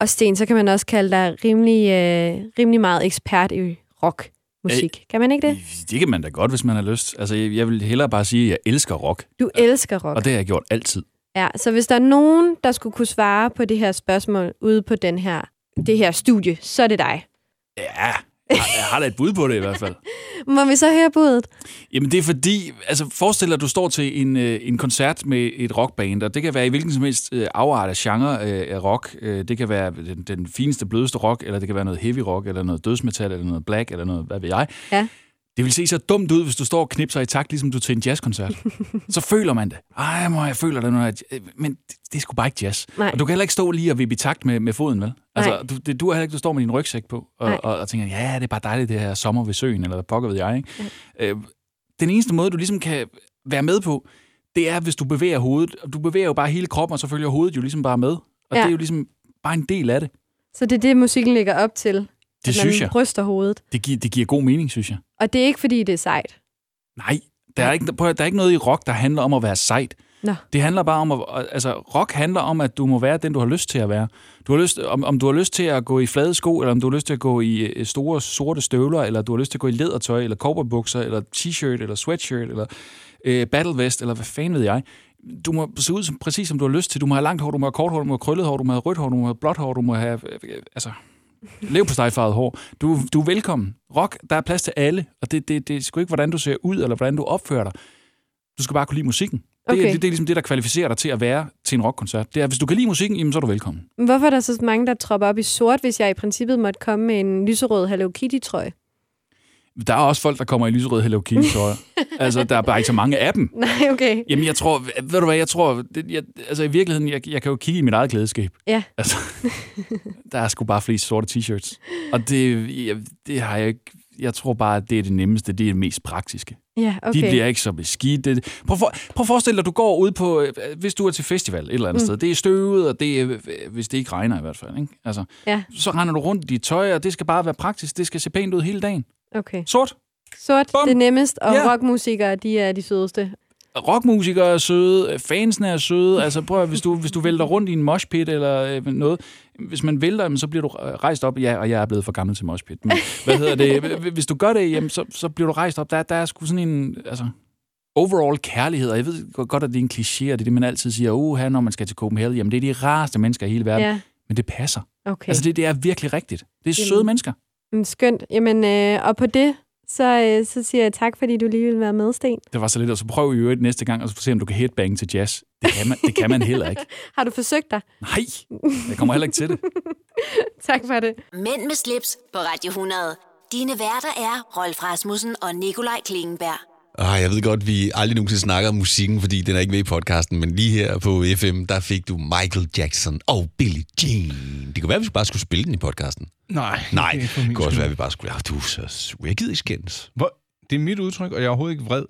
S11: Og Sten, så kan man også kalde dig rimelig, øh, rimelig meget ekspert i rockmusik. Kan man ikke det?
S7: Det kan man da godt, hvis man har lyst. Altså, jeg, jeg vil hellere bare sige, at jeg elsker rock.
S11: Du elsker rock.
S7: Og det har jeg gjort altid.
S11: Ja, så hvis der er nogen, der skulle kunne svare på det her spørgsmål ude på den her, det her studie, så er det dig.
S7: Ja, jeg, jeg har da et bud på det i hvert fald.
S11: Må vi så høre budet?
S7: Jamen, det er fordi... Altså, forestil dig, at du står til en, øh, en koncert med et rockband, og det kan være i hvilken som helst øh, afart af genre øh, af rock. Øh, det kan være den, den fineste, blødeste rock, eller det kan være noget heavy rock, eller noget dødsmetal, eller noget black, eller noget, hvad ved jeg.
S11: Ja.
S7: Det vil se så dumt ud, hvis du står og knipser i takt, ligesom du til en jazzkoncert.
S11: *laughs*
S7: så føler man det. Ej, mor, jeg føler det, når jeg... øh, Men det, det er sgu bare ikke jazz.
S11: Nej.
S7: Og du kan heller ikke stå lige og vippe i takt med, med foden, vel? Altså,
S11: Nej.
S7: du, det, du er heller ikke, du står med din rygsæk på
S11: Nej.
S7: og, og, og tænker, ja, det er bare dejligt, det her sommer ved søen, eller hvad pokker ved jeg, ikke? Øh, den eneste måde, du ligesom kan være med på, det er, hvis du bevæger hovedet. Og du bevæger jo bare hele kroppen, og så følger hovedet jo ligesom bare med. Og
S11: Ja.
S7: ja. det er jo ligesom bare en del af det.
S11: Så det er det, musikken ligger op til. at man
S7: synes jeg.
S11: ryster hovedet.
S7: Det, gi- det giver god mening, synes jeg.
S11: Og det er ikke, fordi det er sejt.
S7: Nej, der er, ikke, prøv, at- der er ikke noget i rock, der handler om at være sejt.
S11: Nå.
S7: Det handler bare om, at, altså rock handler om, at du må være den, du har lyst til at være. Du har lyst, om, om du har lyst til at gå i flade sko, eller om du har lyst til at gå i øh, store sorte støvler, eller du har lyst til at gå i lædertøj, eller cowboybukser, eller t-shirt, eller sweatshirt, eller øh, battlevest, eller hvad fanden ved jeg. Du må se ud som, præcis, som du har lyst til. Du må have langt hår, du må have kort hår, du må have krøllet hår, du må have rødt hår, du må have blåt hår, du må have... Øh, øh, altså, Lev på stegfarvet hår. Du, du er velkommen. Rock, der er plads til alle, og det, det, det er sgu ikke, hvordan du ser ud, eller hvordan du opfører dig. Du skal bare kunne lide musikken. Det,
S11: Okay.
S7: okay. det, det er ligesom det, der kvalificerer dig til at være til en rockkoncert. Det er, hvis du kan lide musikken, jamen, så er du velkommen.
S11: Men Hvorfor er der så mange, der tropper op i sort, hvis jeg i princippet måtte komme med en lyserød Hello Kitty-trøje?
S7: Der er også folk, der kommer i lyserød Hello Kitty, tror
S11: *laughs*
S7: jeg. altså, der er bare ikke så mange af dem.
S11: Nej, okay.
S7: Jamen, jeg tror, ved du hvad, jeg tror, det, jeg, altså i virkeligheden, jeg, jeg kan jo kigge i mit eget klædeskab.
S11: Ja.
S7: Altså, der er sgu bare flest sorte t-shirts. Og det, jeg, det har jeg ikke, jeg tror bare, at det er det nemmeste, det er det mest praktiske.
S11: Ja, okay.
S7: De bliver ikke så beskidt. Det- Prøv, for, prøv at forestille dig, du går ud på, øh, hvis du er til festival et eller andet
S11: Mm.
S7: mm. sted. Det er støvet, og det er, øh, hvis det ikke regner i hvert fald. Ikke? Altså,
S11: Ja,
S7: så render du rundt i dit tøj, og det skal bare være praktisk. Det skal se pænt ud hele dagen.
S11: okay.
S7: Sort.
S11: Sort, Bum. det er nemmest, og
S7: Ja.
S11: rockmusikere, de er de sødeste.
S7: Rockmusikere er søde, øh, fansene er søde. Altså prøv at, hvis du, hvis du vælter rundt i en moshpit eller øh, noget, hvis man vælter, jamen, så bliver du øh, rejst op. Ja, og jeg er blevet for gammel til moshpit. Men hvad hedder
S11: *laughs*
S7: det? Hvis du gør det, jamen, så, så bliver du rejst op. Der, der er sgu sådan en, altså, overall kærlighed, og jeg ved godt, at det er en kliché, og det er det, man altid siger, uh, her, når man skal til Copenhagen, jamen det er de rareste mennesker i hele verden.
S11: Ja.
S7: Ja. Men det passer.
S11: Okay.
S7: Altså det, det er virkelig rigtigt. Det er
S11: Jamen.
S7: søde mennesker.
S11: Mm, Skønt. Jamen, øh, og på det, så, øh, så siger jeg tak, fordi du lige ville være med, Sten.
S7: Det var så lidt, og så prøv i øvrigt næste gang, og så se, om du kan headbange til jazz. Det kan man, det kan man heller ikke.
S11: *laughs* Har du forsøgt dig?
S7: Nej, jeg kommer heller ikke til det.
S11: *laughs* Tak for det.
S1: Mænd med slips på Radio 100. Dine værter er Rolf Rasmussen og Nikolaj Klingenberg.
S2: Ah, jeg ved godt, vi aldrig nogensinde snakker om musikken, fordi den er ikke med i podcasten, men lige her på FM, der fik du Michael Jackson og Billie Jean. Det kunne være, at vi bare skulle spille den i podcasten.
S3: Nej.
S2: Nej,
S3: *laughs* det er for
S2: det
S3: min
S2: kunne også
S3: skyld.
S2: være, at vi bare skulle... Ja, du er så sur. Jeg gider ikke skændes.
S3: Hvor, det er mit udtryk, og jeg er overhovedet ikke vred.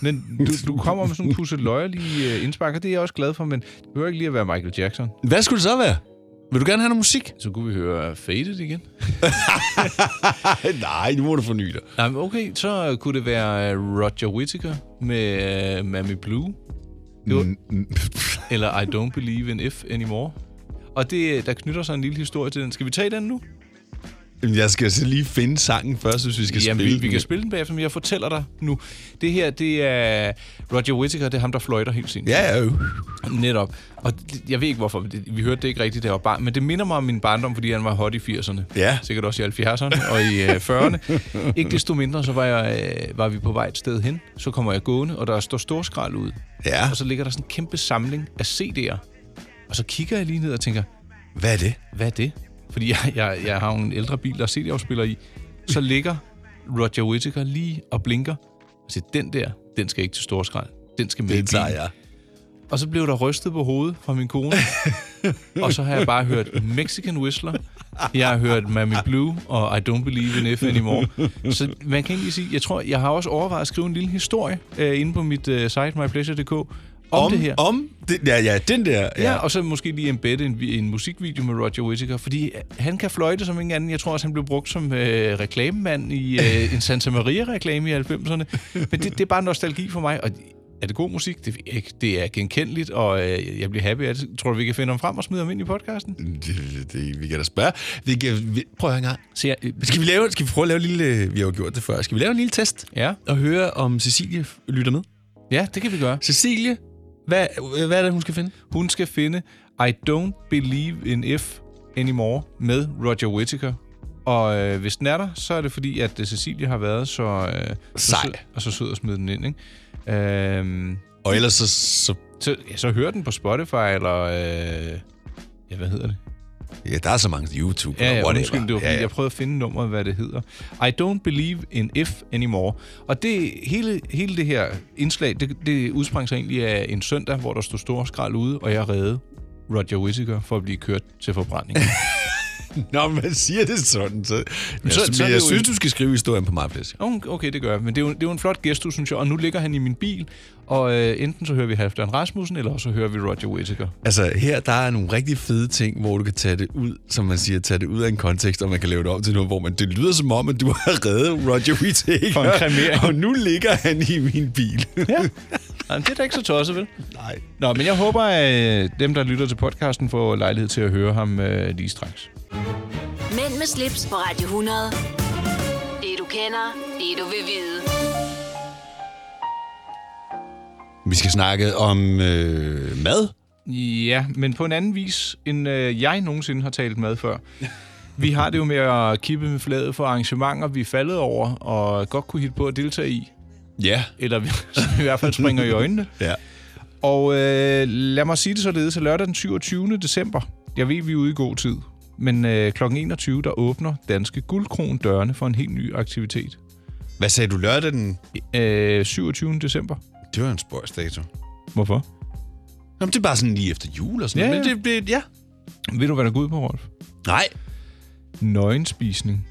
S3: Men du, du kommer med sådan en pusseløjerlige øh, indspark, og det er jeg også glad for, men det behøver ikke lige at være Michael Jackson.
S2: Hvad skulle det så være? Vil du gerne have noget musik?
S3: Så kunne vi høre Faded igen.
S2: *laughs* Nej, nu må du forny dig.
S3: Nej, men okay, så øh, kunne det være øh, Roger Whittaker med uh, Mammy Blue. Det var, eller I Don't Believe in If Anymore. Og det, øh, der knytter sig en lille historie til den. Skal vi tage den nu?
S2: Jamen, Jeg skal så lige finde sangen først, hvis vi skal
S3: Jamen,
S2: spille
S3: vi, vi kan spille den bagefter, men jeg fortæller dig nu. Det her, det er Roger Whittaker, det er ham, der fløjter helt sin.
S2: Ja, jo.
S3: Netop. Og det- jeg ved ikke, hvorfor. men det- Vi hørte det ikke rigtigt, da jeg var barn. Men det minder mig om min barndom, fordi han var hot i 80'erne.
S2: Ja.
S3: Sikkert også i 70'erne og i øh, 40'erne. Ikke desto mindre, så var, jeg, øh, var vi på vej et sted hen. Så kommer jeg gående, og der står stor skrald ud.
S2: Ja.
S3: Og så ligger der sådan en kæmpe samling af CD'er. Og så kigger jeg lige ned og tænker,
S2: Hvad er det?
S3: hvad er det? Fordi jeg, jeg, jeg har jo en ældre bil, der er CD-afspiller i. Så ligger Roger Whittaker lige og blinker. Og siger, den der, den skal ikke til storskrald. Den skal med
S2: Den
S3: i bilen."
S2: tager jeg.
S3: Og så blev der rystet på hovedet fra min kone. og så har jeg bare hørt Mexican Whistler. Jeg har hørt Mammy Blue og I Don't Believe in F anymore. Så man kan ikke lige sige, jeg tror, jeg har også overvejet at skrive en lille historie øh, inde på mit øh, site mypleasure.dk om, om det her.
S2: Om det, ja, ja, den der.
S3: Ja. ja, og så måske lige embedde en, vi- en musikvideo med Roger Whittaker, fordi øh, han kan fløjte som ingen anden. Jeg tror også, han blev brugt som øh, reklamemand i øh, en Santa Maria-reklame i 90'erne. Men det, det er bare nostalgi for mig, og er det god musik? Det, ved jeg ikke. det er genkendeligt, og øh, jeg bliver happy af det. Tror du, vi kan finde ham frem og smide ham ind i podcasten?
S2: Mm, Det, det, vi kan da spørge. Vi kan, vi, prøv at høre en gang. Så jeg, skal, vi lave, skal vi prøve at lave en lille... Vi har jo gjort det før. Skal vi lave en lille test?
S3: Ja.
S2: Og høre, om Cecilie f- lytter med?
S3: Ja, det kan vi gøre.
S2: Cecilie, hvad, hvad er det, hun skal finde?
S3: Hun skal finde I Don't Believe in F Anymore med Roger Whittaker. Og øh, hvis den er der, så er det fordi, at øh, Cecilie har været så... Øh,
S2: Sej.
S3: Så sød, og så sød at smide den ind, ikke? Øhm,
S2: og ellers så... Så,
S3: så, ja, så hør den på Spotify, eller... Øh, ja, hvad hedder det?
S2: Ja, der er så mange YouTube.
S3: Ja, ja
S2: whatever.
S3: undskyld, det var, ja, ja. jeg prøvede at finde nummeret, hvad det hedder. I don't believe in if anymore. Og det, hele, hele det her indslag, det, det udsprang sig egentlig af en søndag, hvor der stod stor skrald ude, og jeg redde Roger Whittaker for at blive kørt til forbrænding.
S2: *laughs* Nå, man siger det sådan. Så, men
S3: så-
S2: så,
S3: så er
S2: men
S3: det
S2: jeg
S3: jo
S2: synes,
S3: en-
S2: du skal skrive historien på mig, please.
S3: Okay, okay, det gør jeg. Men det er, jo, det er jo en flot gæst, synes jeg. Og nu ligger han i min bil, og øh, enten så hører vi Halfdan Rasmussen, eller så hører vi Roger Whittaker.
S2: Altså, her der er nogle rigtig fede ting, hvor du kan tage det ud, som man siger, tage det ud af en kontekst, og man kan lave det om til noget, hvor man, det lyder som om, at du har *laughs* reddet Roger Whittaker.
S3: For en kremering.
S2: Og nu ligger han i min bil.
S3: Ja. Jamen, det er da ikke så tosset, vel?
S2: Nej.
S3: Nå, men jeg håber, at øh, dem, der lytter til podcasten, får lejlighed til at høre ham øh, lige straks.
S1: Mænd med slips på Radio 100. Det du kender, det du vil vide.
S2: Vi skal snakke om øh, mad.
S3: Ja, men på en anden vis, end øh, jeg nogensinde har talt med før. Vi har det jo med at kippe med fladet for arrangementer, vi er faldet over, og godt kunne hitte på at deltage i.
S2: Ja.
S3: Eller vi- *laughs* som i hvert fald springer i øjnene.
S2: Ja.
S3: Og øh, lad mig sige det således, at lørdag den 27. december, jeg ved, vi er ude i god tid, men øh, kl. 21, der åbner Danske Guldkron dørene for en helt ny aktivitet.
S2: Hvad sagde du lørdag den?
S3: Øh, 27. december.
S2: Det var en spøjsdato.
S3: Hvorfor?
S2: Jamen, det er bare sådan lige efter jul og sådan
S3: Ja,
S2: noget,
S3: ja.
S2: Men det, det, ja.
S3: Ved du, hvad der går ud på, Rolf?
S2: Nej.
S3: Nøgenspisning.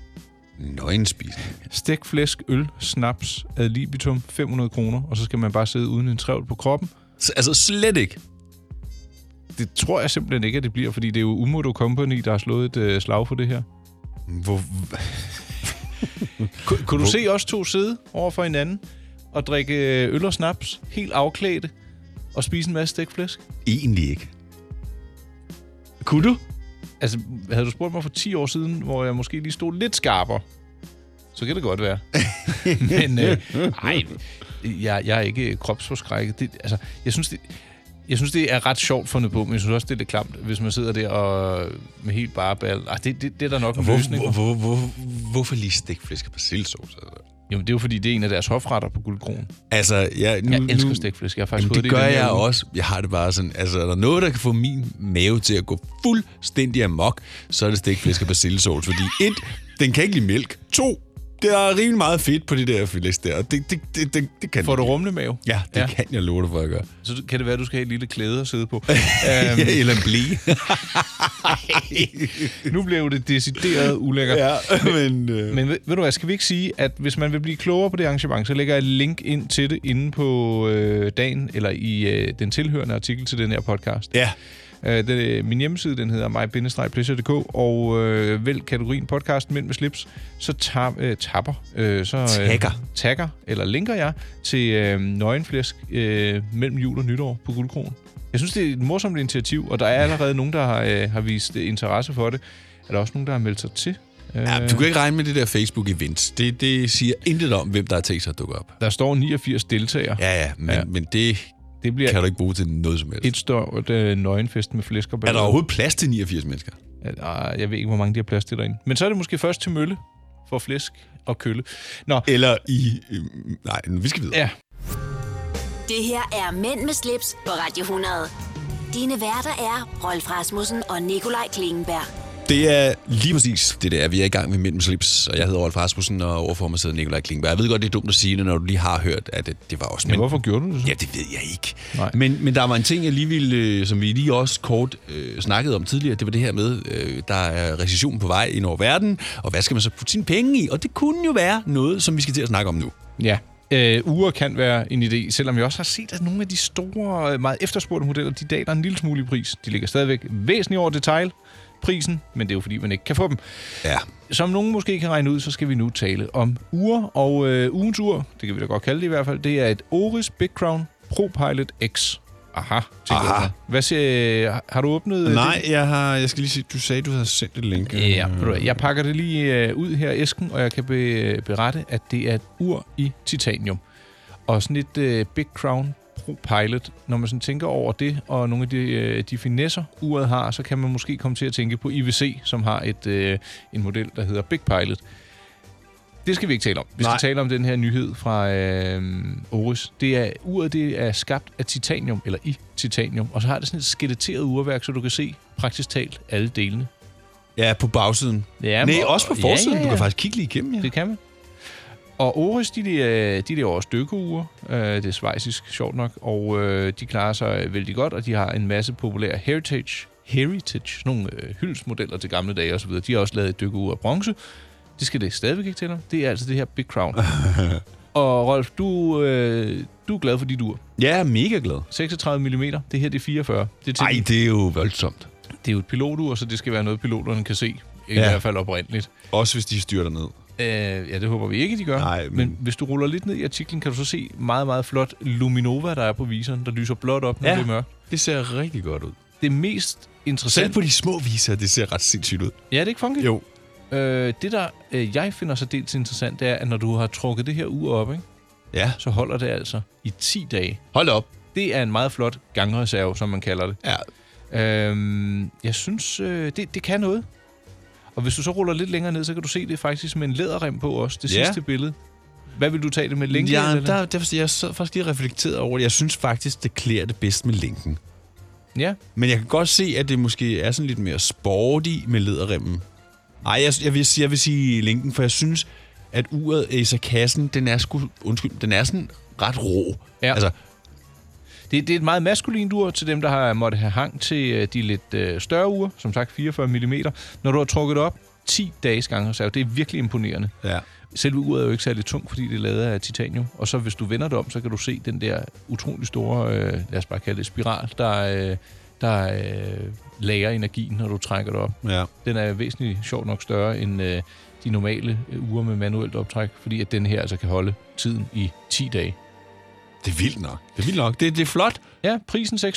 S2: Nøgenspisning.
S3: Stegt flæsk, øl, snaps, ad libitum, 500 kroner, og så skal man bare sidde uden en trævl på kroppen.
S2: Så, altså slet ikke?
S3: Det tror jeg simpelthen ikke, at det bliver, fordi det er jo Umodo Company, der har slået et øh, slag for det her.
S2: Hvor...
S3: kunne, kunne du se os to sidde over for hinanden og drikke øh, øl og snaps, helt afklædte, og spise en masse stegt flæsk?
S2: Egentlig ikke.
S3: Kunne du? Altså, havde du spurgt mig for 10 år siden, hvor jeg måske lige stod lidt skarpere, så kan det godt
S2: *laughs*
S3: være. Men øh, nej, jeg, jeg er ikke kropsforskrækket. Det, altså, jeg synes, det, jeg synes, det er ret sjovt fundet på, men jeg synes også, det er lidt klamt, hvis man sidder der og med helt bare ball. Ej, det, det, det er der nok en
S2: Hvor, hvor,
S3: løsning.
S2: hvor, hvor, hvorfor lige stikflæsk og persillesauce?
S3: Jamen, det er jo fordi, det er en af deres hofretter på guldkronen.
S2: Altså, ja, nu,
S3: Jeg elsker
S2: nu-
S3: stikflæsk. Jeg har faktisk
S2: Jamen,
S3: fået
S2: det,
S3: det i
S2: gør
S3: den her
S2: jeg
S3: uge.
S2: også. Jeg har det bare sådan, altså er der noget, der kan få min mave til at gå fuldstændig amok, så er det stikflæsk og persillesauce, fordi et, den kan ikke lide mælk. To, der er rimelig meget fedt på det der filet der, og det, det, det, det, det kan
S3: Får
S2: den
S3: du
S2: ikke.
S3: rumlemave?
S2: Ja, det ja. kan jeg love dig for, at gøre.
S3: Så kan det være, at du skal have et lille klæde
S2: *laughs*
S3: at sidde på.
S2: Um...
S3: Øhm,
S2: Eller en blæ.
S3: *laughs* nu blev det decideret ulækkert.
S2: *laughs* Ja, men... Øh...
S3: Men ved, ved du hvad, skal vi ikke sige, at hvis man vil blive klogere på det arrangement, så lægger jeg et link ind til det inde på øh, dagen, eller i øh, den tilhørende artikel til den her podcast.
S2: Ja.
S3: Øh, det, min hjemmeside, den hedder mig-pleasure.dk, og øh, vælg kategorien podcast Mænd med slips, så tab, øh, tapper, øh, så, øh,
S2: Tagger.
S3: tagger, eller linker jeg til øh, nøgenflæsk øh, mellem jul og nytår på Guldkronen. Jeg synes, det er et morsomt initiativ, og der er allerede nogen, der har, øh, har vist øh, interesse for det. Er der også nogen, der har meldt sig til?
S2: Ja,
S3: Øh,
S2: du kan ikke regne med det der Facebook-event. Det, det siger intet om, hvem der har tænkt sig at dukke op.
S3: Der står 89 deltagere.
S2: Ja, ja, men, ja. men det,
S3: det bliver
S2: kan du ikke bruge til noget som helst.
S3: Et stort øh, nøgenfest med flæsk og
S2: Er der
S3: ballader.
S2: overhovedet plads til 89 mennesker?
S3: Øh, Jeg ved ikke, hvor mange de har plads til derinde. Men så er det måske først til mølle for flæsk og kølle. Nå.
S2: Eller i... Øh, nej, vi skal videre.
S3: Ja.
S1: Det her er Mænd med slips på Radio 100. Dine værter er Rolf Rasmussen og Nikolaj Klingenberg.
S2: Det er lige præcis det, der. Vi er i gang med Mænd med slips, og jeg hedder Rolf Rasmussen, og overfor mig sidder Nikolaj Klingberg. Jeg ved godt, det er dumt at sige det, når du lige har hørt, at det, det var også...
S3: Men hvorfor gjorde du det så?
S2: Ja, det ved jeg ikke. Men, men der var en ting, jeg lige ville, øh, som vi lige også kort øh, snakkede om tidligere, det var det her med, øh, der er recession på vej ind over verden, og hvad skal man så putte sine penge i? Og det kunne jo være noget, som vi skal til at snakke om nu.
S3: Ja. Øh, uger kan være en idé, selvom jeg også har set, at nogle af de store, øh, meget efterspurgte modeller, de daler en lille smule i pris. De ligger stadigvæk væsentligt over detailprisen, men det er jo fordi, man ikke kan få dem.
S2: Ja.
S3: Som nogen måske kan regne ud, så skal vi nu tale om uger, og øh, ugens ur, det kan vi da godt kalde det i hvert fald, det er et Oris Big Crown Pro Pilot X. Aha, tænker
S2: Aha.
S3: jeg. Hvad siger, har du åbnet øh,
S2: Nej, jeg, har, jeg skal lige sige, du sagde, du havde sendt et link.
S3: Ja, ved du hvad, jeg pakker det lige øh, ud her i æsken, og jeg kan be, øh, berette, at det er et ur i titanium. Og sådan et øh, Big Crown Pro Pilot, når man sådan tænker over det, og nogle af de, øh, de finesser, uret har, så kan man måske komme til at tænke på IWC, som har et øh, en model, der hedder Big Pilot. Det skal vi ikke tale om. Vi skal
S2: Nej.
S3: tale om den her nyhed fra øh, Oris. Det er, uret det er skabt af titanium, eller i titanium, og så har det sådan et skeletteret urværk, så du kan se praktisk talt alle delene.
S2: Ja, på bagsiden. Nej,
S3: Ja, men-
S2: også på
S3: ja,
S2: forsiden.
S3: ja,
S2: Du
S3: ja.
S2: kan faktisk kigge lige igennem, ja.
S3: Det kan man. Og Oris, de, øh, de, de laver også dykkeuger. Øh, det er svejsisk, sjovt nok. Og øh, de klarer sig vældig godt, og de har en masse populære heritage, heritage sådan nogle øh, hyldsmodeller til gamle dage osv. De har også lavet et dykkeure af bronze. Det skal det stadigvæk ikke til dem. Det er altså det her Big
S2: *laughs*
S3: Crown. og Rolf, du, øh, du er glad for dit ur.
S2: Ja, jeg er mega glad.
S3: 36 mm. Det her det er 44. Det er
S2: Ej, det er jo voldsomt.
S3: Det er jo et pilotur, så det skal være noget, piloterne kan se. I
S2: Ja.
S3: hvert fald oprindeligt.
S2: Også hvis de styrer ned.
S3: Øh, ja, det håber vi ikke, de gør. Nej, men... men hvis du ruller lidt ned i artiklen, kan du så se meget, meget flot luminova, der er på viseren, der lyser blåt op, når
S2: Ja,
S3: det er mørkt.
S2: det ser rigtig godt ud.
S3: Det mest interessante...
S2: Selv på de små viser, det ser ret sindssygt ud.
S3: Ja, det er ikke funky?
S2: Jo.
S3: Øh, det, der øh, jeg finder så dels interessant, det er, at når du har trukket det her ur op, ikke?
S2: Ja.
S3: så holder det altså i 10 dage.
S2: Hold op.
S3: Det er en meget flot gangreserve, som man kalder det.
S2: Ja.
S3: Øhm, jeg synes, øh, det, det kan noget. Og hvis du så ruller lidt længere ned, så kan du se det er faktisk med en læderrem på også, det
S2: Ja.
S3: sidste billede. Hvad vil du tage det med længe?
S2: Ja, der, der, jeg sad faktisk lige reflekteret over det. Jeg synes faktisk, det klæder det bedst med linken.
S3: Ja.
S2: Men jeg kan godt se, at det måske er sådan lidt mere sporty med læderremmen. Ej, jeg, jeg, vil, sige- jeg vil sige linken, for jeg synes, at uret i kassen, den er sgu, undskyld, den er sådan ret rå.
S3: Ja.
S2: Altså,
S3: Det, det er et meget maskulint ur til dem, der har måtte have hang til øh, de lidt øh, større ure, som sagt 44 mm. Når du har trukket det op, 10 dages gangreserve, det er virkelig imponerende.
S2: Ja.
S3: Selve uret er jo ikke særlig tungt, fordi det er lavet af titanium. Og så hvis du vender det om, så kan du se den der utrolig store, øh, lad os bare kalde det spiral, der, øh, der øh, lager energien, når du trækker det op.
S2: Ja.
S3: Den er væsentligt sjov nok større end øh, de normale øh, ure med manuelt optræk, fordi at den her altså kan holde tiden i 10 dage.
S2: Det er vildt nok. Det er vildt nok. Det, det er flot.
S3: Ja, prisen 6.800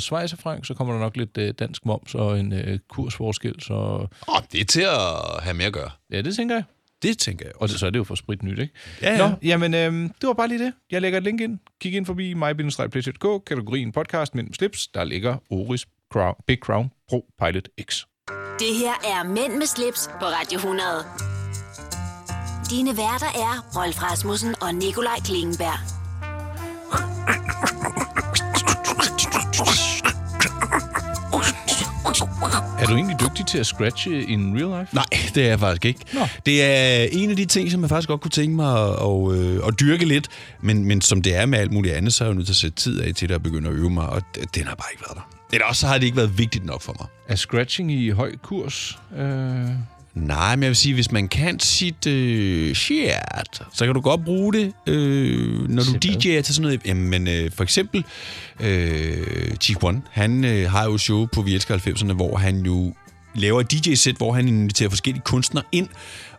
S3: svejserfrank, så kommer der nok lidt øh, dansk moms og en øh, kursforskel. Så...
S2: Åh, det er til at have med at gøre.
S3: Ja, det tænker jeg.
S2: Det tænker jeg
S3: Og det, så er det jo for sprit nyt, ikke?
S2: Ja, ja.
S3: Nå, jamen, øh, det var bare lige det. Jeg lægger et link ind. Kig ind forbi mig-play.dk, kategorien podcast mellem slips. Der ligger Oris Crown, Big Crown Pro Pilot X.
S1: Det her er Mænd med slips på Radio 100. Dine værter er Rolf Rasmussen og Nikolaj Klingenberg.
S3: Er du egentlig dygtig til at scratche in real life?
S2: Nej, det er jeg faktisk ikke. Nå. Det er en af de ting, som jeg faktisk godt kunne tænke mig at, og, øh, at dyrke lidt, men, men som det er med alt muligt andet, så er jeg jo nødt til at sætte tid af til det og begynde at øve mig, og d- den har bare ikke været der. Eller også så har det ikke været vigtigt nok for mig.
S3: Er scratching i høj kurs? Øh...
S2: Nej, men jeg vil sige, hvis man kan sit øh, shit, så kan du godt bruge det, øh, når du DJ'er til sådan noget. Jamen, øh, for eksempel øh, Chief One, han øh, har jo et show på Vi Elsker 90'erne, hvor han jo laver et DJ-sæt, hvor han inviterer forskellige kunstnere ind,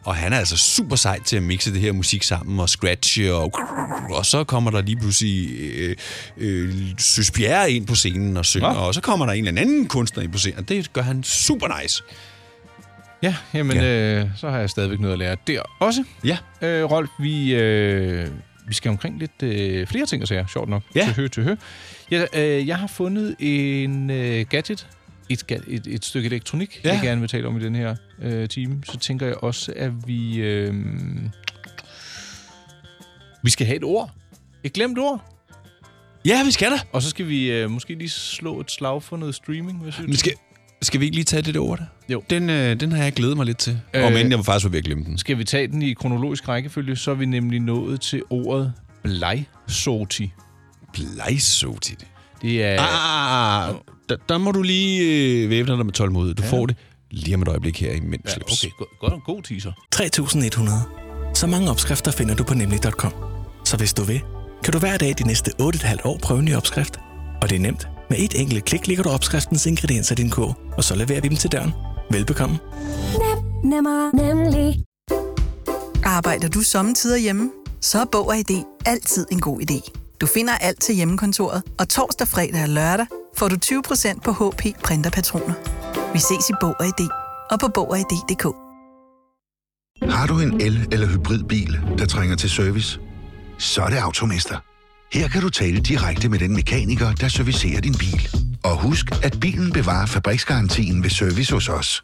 S2: og han er altså super sej til at mixe det her musik sammen og scratche, og, *laughs* og så kommer der lige pludselig øh, øh, Søs Pierre ind på scenen og synger, og så kommer der en eller anden kunstner ind på scenen, og det gør han super nice.
S3: Ja, jamen, ja. Øh, så har jeg stadigvæk noget at lære der også.
S2: Ja.
S3: Øh, Rolf, vi, øh, vi skal omkring lidt øh, flere ting og sager, sjovt nok. Ja. Tøhø, tøhø. Ja, øh, jeg har fundet en øh, gadget, et, ga- et, et stykke elektronik, ja. jeg gerne vil tale om i den her øh, time. Så tænker jeg også, at vi... Øh, vi skal have et ord. Et glemt ord.
S2: Ja, vi skal da.
S3: Og så skal vi øh, måske lige slå et slag for noget streaming, hvis vi
S2: Men skal, skal vi ikke lige tage det der over der?
S3: Jo.
S2: Den, øh, den har jeg glædet mig lidt til.
S3: Øh,
S2: Øh, Om end jeg var faktisk var ved at glemme den.
S3: Skal vi tage den i kronologisk rækkefølge, så er vi nemlig nået til ordet blegsoti.
S2: Blegsoti?
S3: Det er...
S2: Ah, ah, ah, der, der må du lige øh, væbne dig med tålmodighed. Du ja. får det lige om et øjeblik her i Mænd ja,
S3: okay, god, god teaser.
S9: 3100. Så mange opskrifter finder du på nemlig.com. Så hvis du vil, kan du hver dag de næste 8,5 år prøve en ny opskrift. Og det er nemt. Med et enkelt klik ligger du opskriftens ingredienser i din kog, og så leverer vi dem til døren. Velbekomme.
S14: Nem, nemmer, nemlig. Arbejder du sommetider hjemme? Så er Bog og ID altid en god idé. Du finder alt til hjemmekontoret, og torsdag, fredag og lørdag får du 20% på HP Printerpatroner. Vi ses i Bog og ID og på Bog og ID.dk.
S15: Har du en el- eller hybridbil, der trænger til service? Så er det Automester. Her kan du tale direkte med den mekaniker, der servicerer din bil. Og husk, at bilen bevarer fabriksgarantien ved service hos os.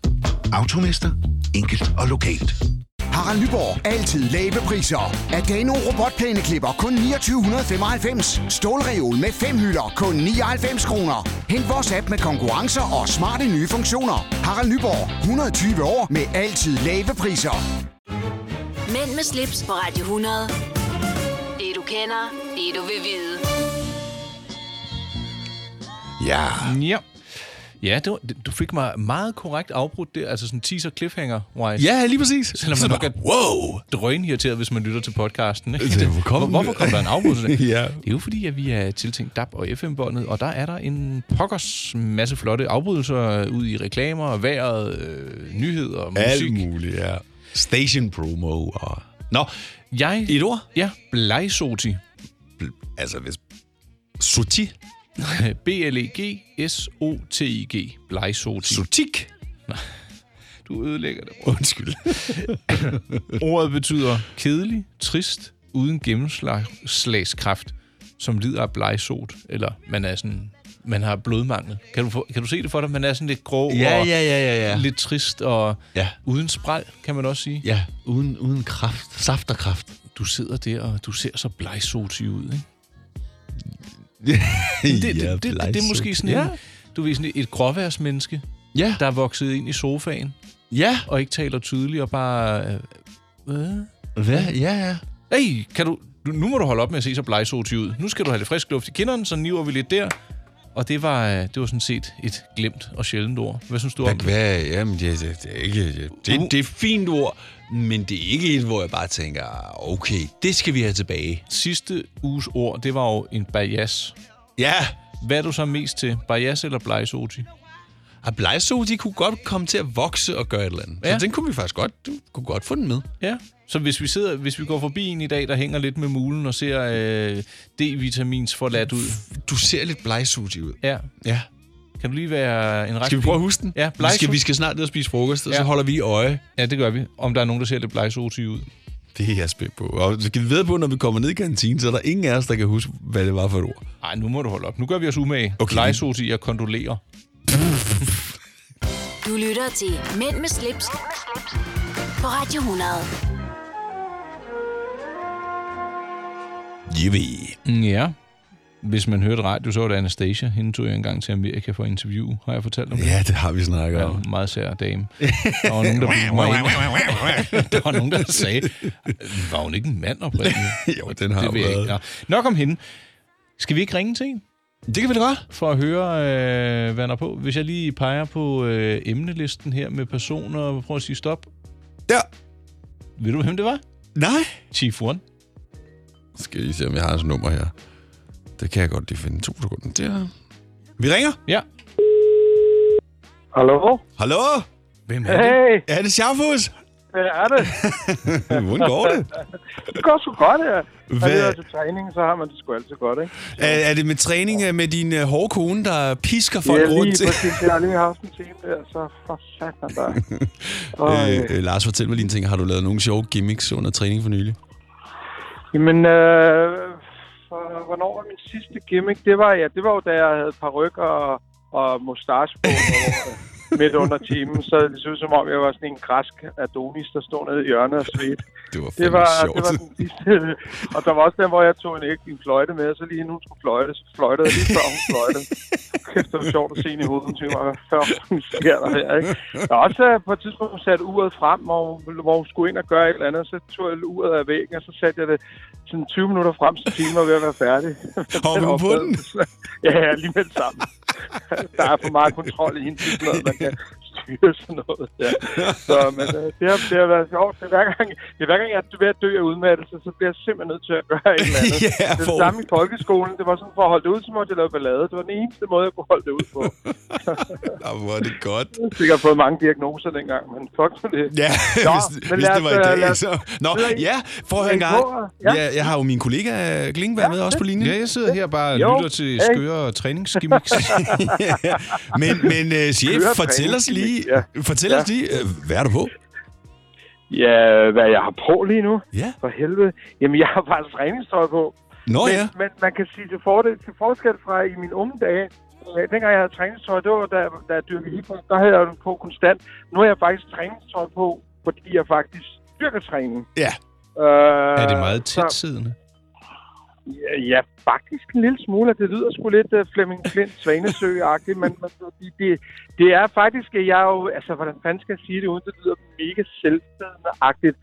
S15: Automester. Enkelt og lokalt.
S4: Harald Nyborg. Altid lave priser. Adano robotplæneklipper kun 2995. Stålreol med fem hylder kun 99 kroner. Hent vores app med konkurrencer og smarte nye funktioner. Harald Nyborg. 120 år med altid lave priser.
S1: Mænd med slips på Radio 100. Det du kender, det du vil vide.
S2: Ja.
S3: Ja. Ja, det var, du fik mig meget korrekt afbrudt der, altså sådan teaser cliffhanger wise.
S2: Ja, lige præcis.
S3: Selvom
S2: Så
S3: man nok
S2: bare,
S3: er wow. drønirriteret, hvis man lytter til podcasten. Ikke?
S2: Det var
S3: Hvor,
S2: kommet.
S3: hvorfor kom der en afbrydelse? der?
S2: *laughs* Ja.
S3: Det er jo fordi, at vi er tiltænkt DAB og FM-båndet, og der er der en pokkers masse flotte afbrydelser ud i reklamer, vejret, øh, nyheder, musik.
S2: Alt muligt, ja. Station promo og... Nå,
S3: jeg...
S2: Et ord?
S3: Ja, blegsoti.
S2: Bl- altså, hvis... Soti?
S3: E B-L-E-G-S-O-T-I-G. Blegsoti.
S2: Sotik?
S3: Du ødelægger det.
S2: Undskyld.
S3: Ordet betyder kedelig, trist, uden gennemslagskraft, som lider af blegsot, eller man er sådan man har blodmangel. Kan du, få, kan du se det for dig? Man er sådan lidt grå
S2: *laughs* Ja,
S3: og
S2: ja, ja, ja, ja.
S3: lidt trist og
S2: ja.
S3: uden spræl, kan man også sige.
S2: Ja, uden, uden kraft. Saft og *laughs* kraft.
S3: Du sidder der, og du ser så blegsoti ud, ikke?
S2: det,
S3: det, det, det, det, det er måske sådan
S2: ja.
S3: en, du ved, sådan et gråværsmenneske,
S2: ja.
S3: der er vokset ind i sofaen,
S2: ja.
S3: og ikke taler tydeligt og bare... øh, Hvad?
S2: Hvad? Ja, ja.
S3: Hey, kan du, du, nu må du holde op med at se så blegsoti ud. Nu skal du have lidt frisk luft i kinderne, så niver vi lidt der. Og det var, øh, det var sådan set et glemt og sjældent ord. Hvad synes du om
S2: Hvad,
S3: det?
S2: hvad, jamen, det, det, det, er ikke, det, det, det er et fint ord, men det er ikke et, hvor jeg bare tænker, okay, det skal vi have tilbage.
S3: Sidste uges ord, det var jo en bias.
S2: Ja!
S3: Hvad er du så mest til? Bias eller blegsoti?
S2: Og blegsol, Ah, de kunne godt komme til at vokse og gøre et eller andet. Ja.
S3: Ja.
S2: Så den kunne vi faktisk godt, du kunne godt få den med.
S3: Ja, så hvis vi, sidder, hvis vi går forbi en i dag, der hænger lidt med mulen og ser øh, D-vitamins forladt ud.
S2: Du ser lidt blegsugtig ud.
S3: Ja.
S2: Ja.
S3: Kan du lige være en ret
S2: Skal vi prøve at huske den?
S3: Ja,
S2: vi skal,
S3: blegsot-
S2: vi skal snart ned og spise frokost, og ja. så
S3: Ja.
S2: holder vi øje.
S3: Ja, det gør vi. Om der er nogen, der ser lidt blegsoti ud.
S2: Det er jeg spændt på. Og skal vi ved på, når vi kommer ned i kantinen, så er der ingen af os, der kan huske, hvad det var for et ord.
S3: Nej, nu må du holde op. Nu gør vi os umage. Okay. Blegsoti, jeg kondolerer.
S1: Du lytter til Mænd med slips, på Radio 100.
S2: Jippie.
S3: Mm, Ja. Hvis man hørte radio, så var det Anastasia. Hende tog jeg engang til Amerika for interview, har jeg fortalt om det.
S2: Ja, det har vi snakket
S3: Ja,
S2: om.
S3: en meget sær dame. Der var *laughs* nogen, der bildte mig ind. der var nogen, der sagde, var hun ikke en mand oprindeligt?
S2: *laughs*
S3: *laughs*
S2: jo, den har
S3: det ved jeg ikke. Nå. Nok om hende. Skal vi ikke ringe til en?
S2: Det kan vi da godt.
S3: For at høre, øh, hvad der er på. Hvis jeg lige peger på øh, emnelisten her med personer, og prøver at sige stop.
S2: Der.
S3: Ved du, hvem det var?
S2: Nej.
S3: Chief One.
S2: Skal I se, om jeg har hans nummer her. Det kan jeg godt lige finde. To sekunder. Der. Vi ringer.
S3: Ja.
S5: Hallo?
S2: Hallo? Hvem er
S5: Hey.
S2: det? Er det Sjafus?
S5: Hvad er det?
S2: *laughs* Hvordan går det?
S5: Det går sgu godt, ja. Når
S2: Hvad-
S5: det er til træning, så har man det sgu altid godt, ikke?
S2: Er, er det med træning øh, med din øh, hårde kone, der pisker folk
S5: ja, lige
S2: rundt?
S5: præcis. Jeg har lige haft en time der, så for satan der.
S2: *laughs* øh, øh, Lars, fortæl mig lige en ting. Har du lavet nogle sjove gimmicks under træning for nylig?
S5: Jamen, øh, for, hvornår var min sidste gimmick? Det var, ja, det var jo, da jeg havde paryk og, og mustache på og, øh, midt under timen, så det så ud som om, jeg var sådan en græsk Adonis, der stod nede i hjørnet og svedte.
S2: Det var
S5: det
S2: fandme
S5: var,
S2: sjovt.
S5: Det var den sidste. *laughs* Og der var også den, hvor jeg tog en, æg- en fløjte med, og så lige nu hun skulle fløjte, så fløjtede jeg lige før hun fløjtede. Kæft, det var sjovt at se hende i hovedet. Hun tænkte mig, hvad fanden sker der her, ikke? Jeg har også øh, på et tidspunkt sat uret frem, hvor, hun- hvor hun skulle ind og gøre et eller andet, så tog jeg uret af væggen, og så satte jeg det sådan 20 minutter frem, så timen var ved at være færdig.
S2: *laughs* Hoppede hun på den?
S5: Ja, ja, lige med det samme. Der er for meget kontrol i hende, det er sådan noget, man kan styre sådan noget. Ja. Så, men øh, det, har, det har været sjovt. Det er hver gang, det er hver gang jeg er ved at dø af udmattelse, så bliver jeg simpelthen nødt til at gøre et eller andet.
S2: *laughs* Ja,
S5: det
S2: for-
S5: samme i folkeskolen. Det var sådan, for at holde det ud, så måtte jeg lave ballade. Det var den eneste måde, jeg kunne holde det ud på.
S2: Nå, Ah, hvor er det godt.
S5: Jeg har sikkert fået mange diagnoser dengang, men fuck for det.
S2: Ja,
S5: Nå,
S2: hvis,
S5: men
S2: hvis
S5: lad
S2: det
S5: os,
S2: var i
S5: øh,
S2: dag,
S5: lad os-
S2: så... Nå,
S5: lad os-
S2: ja, prøv at høre en
S5: lad os
S2: gang.
S5: gå,
S2: Ja.
S5: ja.
S2: Jeg, jeg har jo min kollega øh, Kling været med også på linjen.
S3: Ja, jeg sidder her bare og
S2: Jo,
S3: lytter til
S2: hey.
S3: skøre træningsgimmicks.
S2: *laughs* men men uh, chef,
S5: Kører
S2: fortæl os lige, ja. fortæl ja. os lige øh, hvad er du på?
S5: Ja, hvad jeg har på lige nu?
S2: Ja.
S5: For helvede. Jamen, jeg har faktisk træningstøj på.
S2: Nå
S5: men,
S2: ja.
S5: Men man kan sige til, fordel, til forskel fra i mine unge dage, øh, dengang jeg havde træningstøj, det var da, da jeg dyrkede hiphop, der havde jeg den på konstant. Nu har jeg faktisk træningstøj på, fordi jeg faktisk
S7: styrketræning.
S2: Ja.
S7: Øh,
S3: Er det meget
S7: så-
S3: tætsiddende?
S7: Ja, ja, faktisk en lille smule. Det lyder sgu lidt uh, Flemming Flint Svanesø-agtigt, men, men det, det, det er faktisk, at jeg er jo... Altså, hvordan fanden skal jeg sige det, uden det lyder mega selvstændende-agtigt.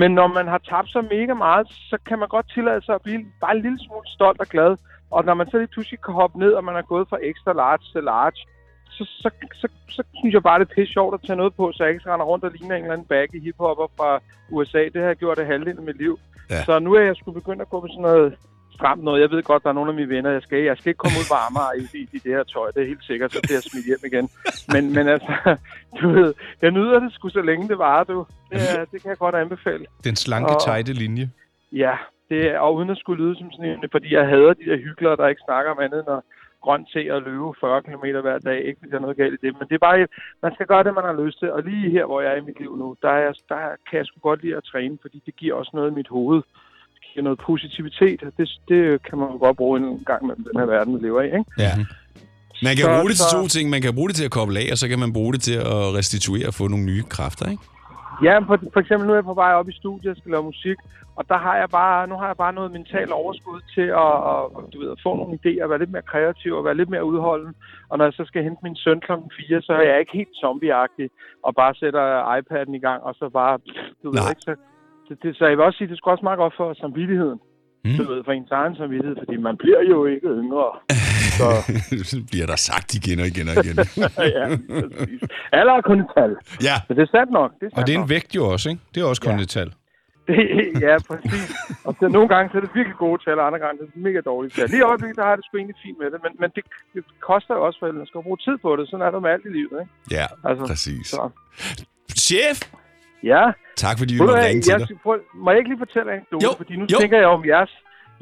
S7: Men når man har tabt sig mega meget, så kan man godt tillade sig at blive bare en lille smule stolt og glad. Og når man så lige pludselig kan hoppe ned, og man er gået fra extra large til large, så, så, så, så synes jeg bare, det er pisse sjovt at tage noget på, så jeg ikke render rundt og ligner en eller anden bagge hiphopper fra USA. Det har jeg gjort det halvdelen af mit liv.
S2: Ja.
S7: Ja. Så nu er jeg skulle begynde at gå på sådan noget stramt noget. Jeg ved godt, der er nogle af mine venner, jeg skal, jeg skal ikke komme ud på Amager i, i, i det her tøj. Det er helt sikkert, så bliver jeg smidt hjem igen. Men, men altså, du ved, jeg nyder det sgu så længe det varer, du. Det, er- det kan jeg godt anbefale.
S3: Den slanke,
S7: Og-
S3: tejte linje.
S7: Ja, det er, og uden at skulle lyde som sådan en, fordi jeg hader de der hyggelere, der ikke snakker om andet end at grønt te og løbe 40 km hver dag. Ikke, fordi der er noget galt i det, men det er bare, man skal gøre det, man har lyst til. Og lige her, hvor jeg er i mit liv nu, der, er, jeg- der kan jeg sgu godt lide at træne, fordi det giver også noget i mit hoved. Det giver noget positivitet, og det, det kan man jo godt bruge en gang med den her verden, vi lever i. Ikke?
S2: Ja. Man kan
S7: Så-
S2: så, bruge det til
S7: så-
S2: to ting. Man kan bruge det til at koble af, og så kan man bruge det til at restituere og få nogle nye kræfter, ikke?
S7: Ja, for, for eksempel nu er jeg på vej op i studiet og skal lave musik, og der har jeg bare, nu har jeg bare noget mentalt overskud til at, at, du ved, at få nogle idéer, være lidt mere kreativ og være lidt mere udholden. Og når jeg så skal hente min søn kl. 4, så er jeg ikke helt zombieagtig og bare sætter iPad'en i gang, og så bare, du ved
S2: Nej.
S7: ikke, så, det, det, så jeg vil også sige, det skal også meget godt for samvittigheden.
S2: Mm.
S7: Mm. Du ved, for ens egen samvittighed, fordi man bliver jo ikke yngre. Så,
S2: Så *laughs* bliver der sagt igen og igen og igen.
S7: *laughs* ja, præcis. Alder er kun et tal.
S2: Ja.
S7: Men det er sandt nok. Det er sandt
S3: Og det er
S7: nok.
S3: en vægt jo også, ikke? Det er også kun et tal.
S7: Det, ja, præcis. Og så nogle gange så er det virkelig gode tal, og andre gange så er det mega dårlige tal. Lige i øjeblikket, der har jeg det sgu egentlig fint med det, men, men det, det koster jo også, for man skal jo bruge tid på det. Sådan er det med alt i livet, ikke?
S2: Ja,
S7: altså,
S2: præcis.
S7: Så.
S2: Chef!
S7: Ja?
S2: Tak fordi vi
S7: Ved du
S2: måtte
S7: hvad,
S2: ringe til
S7: jeg,
S2: dig.
S7: skal- prøv, må jeg ikke lige fortælle en anekdote?
S2: Jo,
S7: Fordi nu
S2: jo.
S7: tænker jeg om jeres,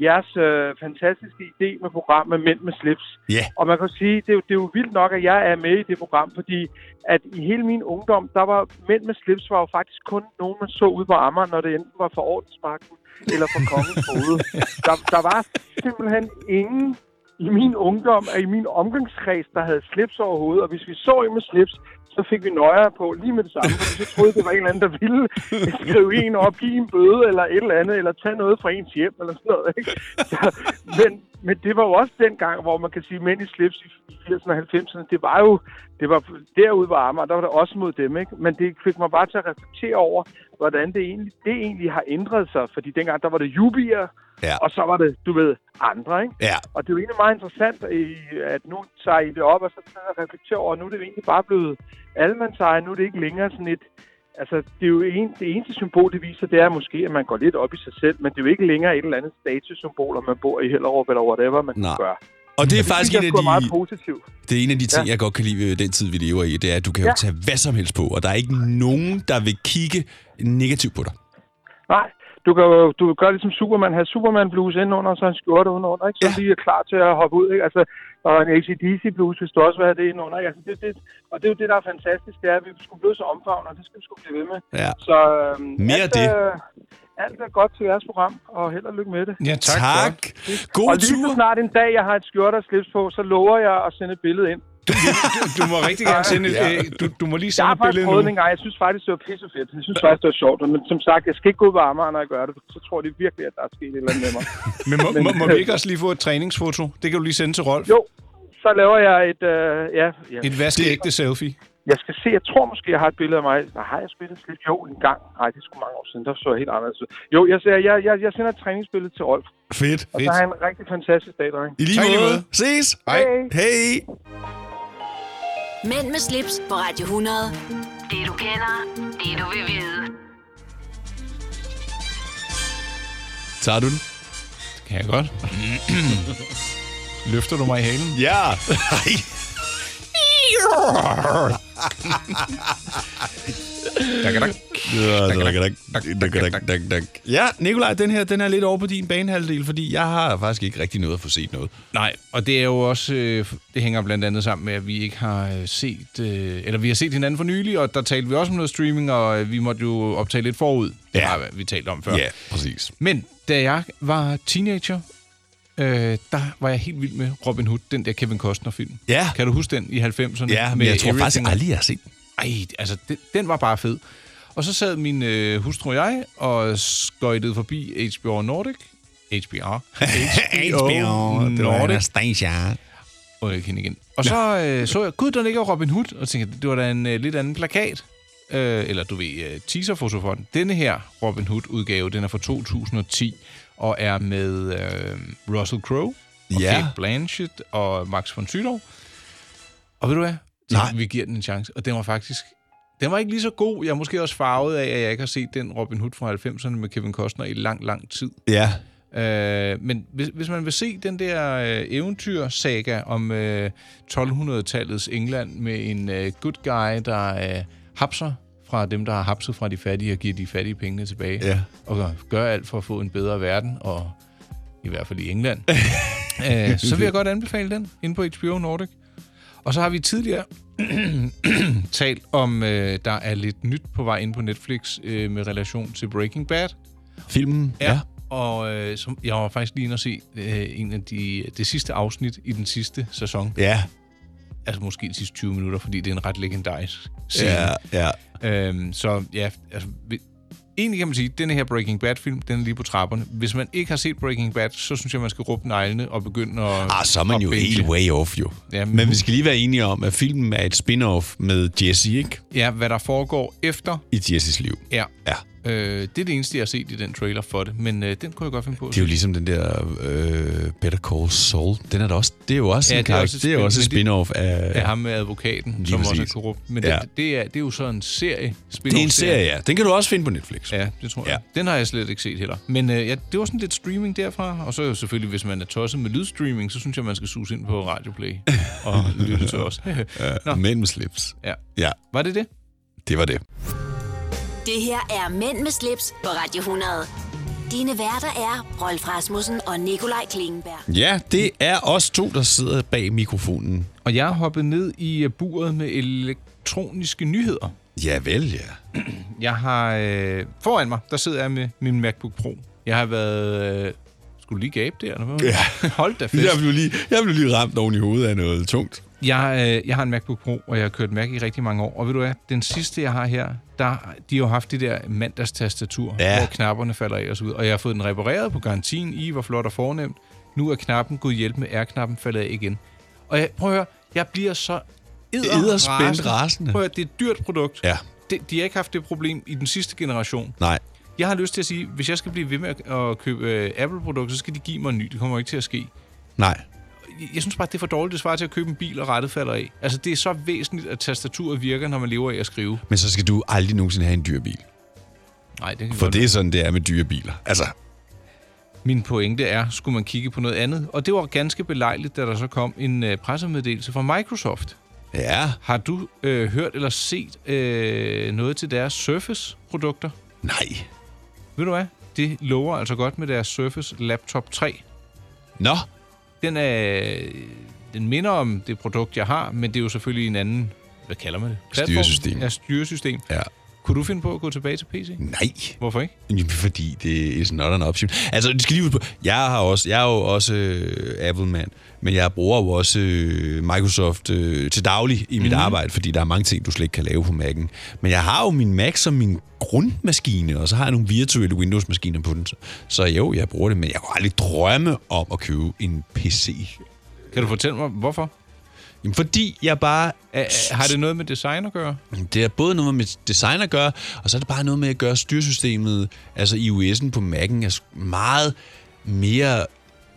S7: jeres øh, fantastiske idé med program med Mænd med slips.
S2: Ja.
S7: Og man kan jo sige, det er jo, det er jo vildt nok, at jeg er med i det program, fordi at i hele min ungdom, der var mænd med slips, var jo faktisk kun nogen, man så ude på Amager, når det enten var for ordensmagten eller for kongens
S2: *laughs*
S7: hoved. Der, der var simpelthen ingen i min ungdom og i min omgangskreds, der havde slips over hovedet, og hvis vi så en med slips, så fik vi nøjer på lige med det samme, fordi så troede, det var en eller anden, der ville skrive en op, give en bøde eller et eller andet, eller tage noget fra ens hjem eller sådan noget. Ikke? Så, men, men det var jo også den gang, hvor man kan sige, mænd i slips i 80'erne og 90'erne, det var jo, det var derude var Amager, der var det også mod dem, ikke? Men det fik mig bare til at reflektere over, hvordan det egentlig, det egentlig har ændret sig, fordi dengang der var det jubier,
S2: Ja.
S7: og så var det, du ved, andre, ikke?
S2: Ja.
S7: Og det er jo egentlig meget interessant, i- at nu tager I det op, og så tager jeg reflektere over, at nu er det jo egentlig bare blevet allemandseje, nu er det ikke længere sådan et... Altså, det er jo en, det eneste symbol, det viser, det er måske, at man går lidt op i sig selv, men det er jo ikke længere et eller andet statussymbol, om man bor i Hellerup eller whatever, man
S2: Nej.
S7: gør.
S2: Og det er faktisk
S7: synes
S2: en af
S7: *laughs* jeg sgu er meget
S2: de,
S7: positivt.
S2: det er en af de ting,
S7: Ja.
S2: jeg godt kan lide ved den tid, vi lever i. Det er, at du kan jo
S7: Ja.
S2: tage hvad som helst på, og der er ikke nogen, der vil kigge negativt på dig.
S7: *laughs* Nej, du kan jo- du gør ligesom Superman, have Superman bluse indenunder, og så en skjorte udenunder, ikke? Så ja. lige er klar til at hoppe ud, ikke? Altså, og en ACDC bluse, hvis du også vil have det indenunder, ikke? Altså, det, det, og det er jo det, der er fantastisk, det er, at vi skulle blive så omfavnet, og det skal vi sgu blive ved med.
S2: Ja.
S7: Så øhm,
S2: Mere
S7: alt,
S2: det.
S7: Øh, alt er godt til jeres program, og held og lykke med det.
S2: Ja, tak. Tak. God
S7: og lige så snart en dag, jeg har et skjorte og slips på, så lover jeg at sende et billede ind.
S3: Du, du må rigtig gerne sende et...
S7: Ja.
S3: øh, Du, du må lige
S7: Jeg
S3: sende
S7: har
S3: et
S7: faktisk
S3: billede
S7: prøvet det
S3: nu.
S7: engang. Jeg synes faktisk, det var pissefedt. Jeg synes faktisk, det var sjovt. Men som sagt, jeg skal ikke gå ud på Amager, når jeg gør det. Så tror de virkelig, at der er sket et eller andet med mig.
S3: Men må, må, må vi ikke også lige få et træningsfoto? Det kan du lige sende til Rolf.
S7: Jo, så laver jeg et... Øh, ja, ja.
S3: Et vaskeægte selfie.
S7: Jeg skal se, jeg tror måske, jeg har et billede af mig. Nej, har jeg spillet slidt? Jo, en gang. Nej, det er sgu mange år siden. Der så jeg helt anderledes ud. Jo, jeg, jeg, jeg, jeg, jeg sender et træningsbillede til Rolf.
S2: Fedt.
S7: Og så
S2: Fedt.
S7: har han en rigtig fantastisk dag, dreng.
S2: I lige
S7: Tak,
S2: måde. Ses.
S7: Hej.
S2: Hej.
S1: Mænd med slips på Radio 100. Det du kender, det du vil vide.
S2: Tager du den?
S3: Det kan jeg godt. Løfter du mig i halen? *laughs*
S2: Ja. Ja, Nikolaj, den her den er lidt over på din banehalvdel, fordi jeg har faktisk ikke rigtig noget at få set noget.
S3: Nej, og det er jo også øh, det hænger blandt andet sammen med at vi ikke har øh, set øh, eller vi har set hinanden for nylig, og der talte vi også om noget streaming, og øh, vi måtte jo optage lidt forud. Det ja. har vi talt om før.
S2: Ja, præcis.
S3: Men da jeg var teenager, øh, der var jeg helt vild med Robin Hood, den der Kevin Costner-film.
S2: Ja.
S3: Kan du huske den i 90'erne?
S2: Ja, men
S3: Med
S2: jeg tror faktisk
S3: everything?
S2: aldrig, jeg har set den.
S3: Ej, altså, den, den var bare fed. Og så sad min øh, hustru og jeg og skøjtede forbi HBO Nordic.
S2: *laughs*
S3: HBR.
S2: HBO, det var
S3: Anastasia. Og jeg kender igen. Og så øh, så jeg, gud, der ligger Robin Hood, og tænkte, det var da en øh, lidt anden plakat. Øh, eller du ved, øh, teaserfoto for den. Denne her Robin Hood-udgave, den er fra 2010, og er med øh, Russell Crowe, og
S2: Ja.
S3: ja. Kate Blanchett, og Max von Sydow. Og ved du hvad? Nej. Vi giver den en chance. Og den var faktisk... Den var ikke lige så god. Jeg er måske også farvet af, at jeg ikke har set den Robin Hood fra 90'erne med Kevin Costner i lang, lang tid.
S2: Ja.
S3: Øh, men hvis, hvis man vil se den der øh, eventyrsaga om øh, 1200-tallets England med en øh, good guy, der øh, hapser fra dem, der har hapset fra de fattige og giver de fattige pengene tilbage,
S2: Ja.
S3: og gør- gør alt for at få en bedre verden, og i hvert fald i England, øh, så vil jeg godt anbefale den inde på HBO Nordic. Og så har vi tidligere *clears throat* talt om, øh, der er lidt nyt på vej ind på Netflix øh, med relation til Breaking Bad.
S2: Filmen, ja.
S3: Og øh, som, jeg var faktisk lige inde og se øh, en af de, det sidste afsnit i den sidste sæson.
S2: Ja.
S3: Altså måske de sidste 20 minutter, fordi det er en ret legendarisk scene.
S2: Ja,
S3: ja. Øhm, så ja, altså, vi- egentlig kan man sige, at denne her Breaking Bad-film, den er lige på trapperne. Hvis man ikke har set Breaking Bad, så synes jeg, man skal råbe neglene og begynde at...
S2: Ah, så er man
S3: at
S2: jo
S3: binge.
S2: helt way off, jo.
S3: Ja,
S2: men, vi skal lige være enige om, at filmen er et spin-off med Jesse, ikke?
S3: Ja, hvad der foregår efter,
S2: I Jesses liv.
S3: ja.
S2: ja.
S3: Øh, det er det eneste, jeg har set i den trailer for det, men øh, den kunne jeg godt finde på at
S2: Det er jo ligesom den der øh, Better Call Saul. Den er der også, det er jo også, ja, en det, er også det er jo også et
S3: men det-
S2: spin-off af...
S3: af ham med advokaten,
S2: Lige
S3: som også er
S2: præcis.
S3: korrupt. Men
S2: Ja.
S3: ja. det, det, er, det er jo så en serie.
S2: Det er en serie, ja. Den kan du også finde på Netflix.
S3: Ja, det tror jeg. Ja. Den har jeg slet ikke set heller. Men øh, ja, det var sådan lidt streaming derfra. Og så selvfølgelig, hvis man er tosset med lydstreaming, så synes jeg, man skal suge ind på Radioplay
S2: *laughs*
S3: og lytte til os. *laughs*
S2: Ja, Mænd med slips.
S3: Ja.
S2: ja.
S3: Var det det?
S2: Det var det.
S1: Det her er Mænd med slips på Radio 100. Dine værter er Rolf Rasmussen og Nikolaj Klingenberg.
S2: Ja, det er os to, der sidder bag mikrofonen.
S3: Og jeg er hoppet ned i øh, buret med elektroniske nyheder.
S2: Ja vel, ja.
S3: Jeg har... Øh, foran mig, der sidder jeg med min MacBook Pro. Jeg har været... Øh, skulle du lige gabe der, eller hvad?
S2: *laughs* Ja.
S3: Hold da fest.
S2: Jeg blev, lige, jeg blev lige ramt oven i hovedet af noget tungt.
S3: Jeg, øh, jeg har en MacBook Pro, og jeg har kørt Mac i rigtig mange år. Og ved du hvad, den sidste, jeg har her, der, de har jo haft det der mandagstastatur, ja. hvor knapperne falder af og så ud. Og jeg har fået den repareret på garantien. I var flot og fornemt. Nu er knappen, gud hjælp med R-knappen, faldet af igen. Og jeg, prøv at høre, jeg bliver så
S2: Edderspændt
S3: edderrasende.
S2: rasende.
S3: Prøv at høre, det er et dyrt produkt.
S2: Ja.
S3: De, de har ikke haft det problem i den sidste generation.
S2: Nej.
S3: Jeg har lyst til at sige, hvis jeg skal blive ved med at- at købe øh, Apple-produkter, så skal de give mig en ny. Det kommer jo ikke til at ske
S2: Nej.
S3: jeg synes bare, det er for dårligt. Det svarer til at købe en bil, og rettet falder af. Altså, det er så væsentligt, at tastaturet virker, når man lever af at skrive.
S2: Men så skal du aldrig nogensinde have en dyr bil.
S3: Nej, det kan
S2: For
S3: godt
S2: det er sådan, det er med dyre biler. Altså,
S3: Min pointe er, skulle man kigge på noget andet? Og det var ganske belejligt, da der så kom en øh, pressemeddelelse fra Microsoft.
S2: Ja.
S3: Har du øh, hørt eller set øh, noget til deres Surface-produkter?
S2: Nej.
S3: Ved du hvad? Det lover altså godt med deres Surface Laptop 3.
S2: Nå.
S3: Den, er, øh, den minder om det produkt, jeg har, men det er jo selvfølgelig en anden... Hvad kalder man det?
S2: Styresystem.
S3: Ja, styresystem.
S2: Ja.
S3: Kunne du finde på at gå tilbage til PC?
S2: Nej.
S3: Hvorfor ikke?
S2: Jamen, Fordi det er not an option. Altså, det skal lige ud på. Jeg, har også, jeg er jo også øh, Apple-mand, men jeg bruger jo også øh, Microsoft øh, til daglig i mit mm. arbejde, fordi der er mange ting, du slet ikke kan lave på Mac'en. Men jeg har jo min Mac som min grundmaskine, og så har jeg nogle virtuelle Windows-maskiner på den. Så, så jo, jeg bruger det, men jeg kunne aldrig drømme om at købe en PC.
S3: Kan du fortælle mig, hvorfor?
S2: Jamen, fordi jeg bare...
S3: Har det noget med design at gøre?
S2: Det er både noget med design at gøre, og så er det bare noget med at gøre styresystemet, altså iOS'en på Mac'en, er sgu meget mere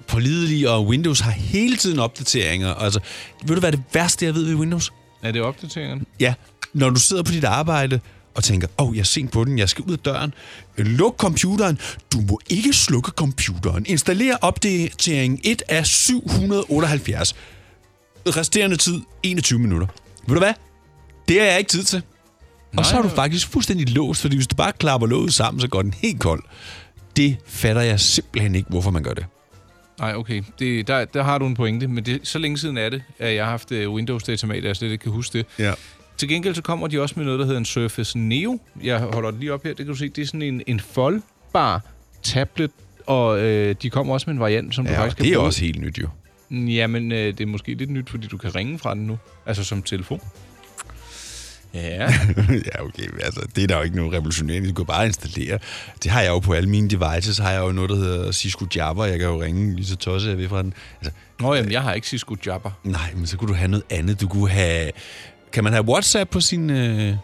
S2: pålidelig, og Windows har hele tiden opdateringer. Altså, ved du, hvad det værste, jeg ved ved Windows?
S3: Er det opdateringerne?
S2: Ja, når du sidder på dit arbejde og tænker, åh, oh, jeg er sent på den, jeg skal ud af døren. Luk computeren. Du må ikke slukke computeren. Installer opdatering 1 af 778. Resterende tid 21 minutter. Ved du hvad? Det har jeg ikke tid til. Og så er du faktisk fuldstændig låst, fordi hvis du bare klapper låget sammen, så går den helt kold. Det fatter jeg simpelthen ikke, hvorfor man gør det.
S3: Nej, okay. Det, der, der har du en pointe, men det, så længe siden er det, at jeg har haft øh, Windows datamat, at jeg slet ikke kan huske det.
S2: Ja.
S3: Til gengæld så kommer de også med noget, der hedder en Surface Neo. Jeg holder det lige op her. Det kan du se, det er sådan en, en foldbar tablet, og øh, de kommer også med en variant, som du
S2: Ja,
S3: faktisk kan
S2: det er
S3: bruge. Mm,
S2: også helt nyt jo.
S3: Jamen, øh, det er måske lidt nyt, fordi du kan ringe fra den nu. Altså som telefon. Ja.
S2: *laughs* ja, okay. Altså, det er der jo ikke nogen revolutionerende. Du kan bare installere. Det har jeg jo på alle mine devices. Har jeg jo noget, der hedder Cisco Jabber. Jeg kan jo ringe lige så tosset jeg ved fra den. Altså,
S3: Nå, jamen, jeg har ikke Cisco Jabber.
S2: Nej, men så kunne du have noget andet. Du kunne have... Kan man have WhatsApp på sin, øh,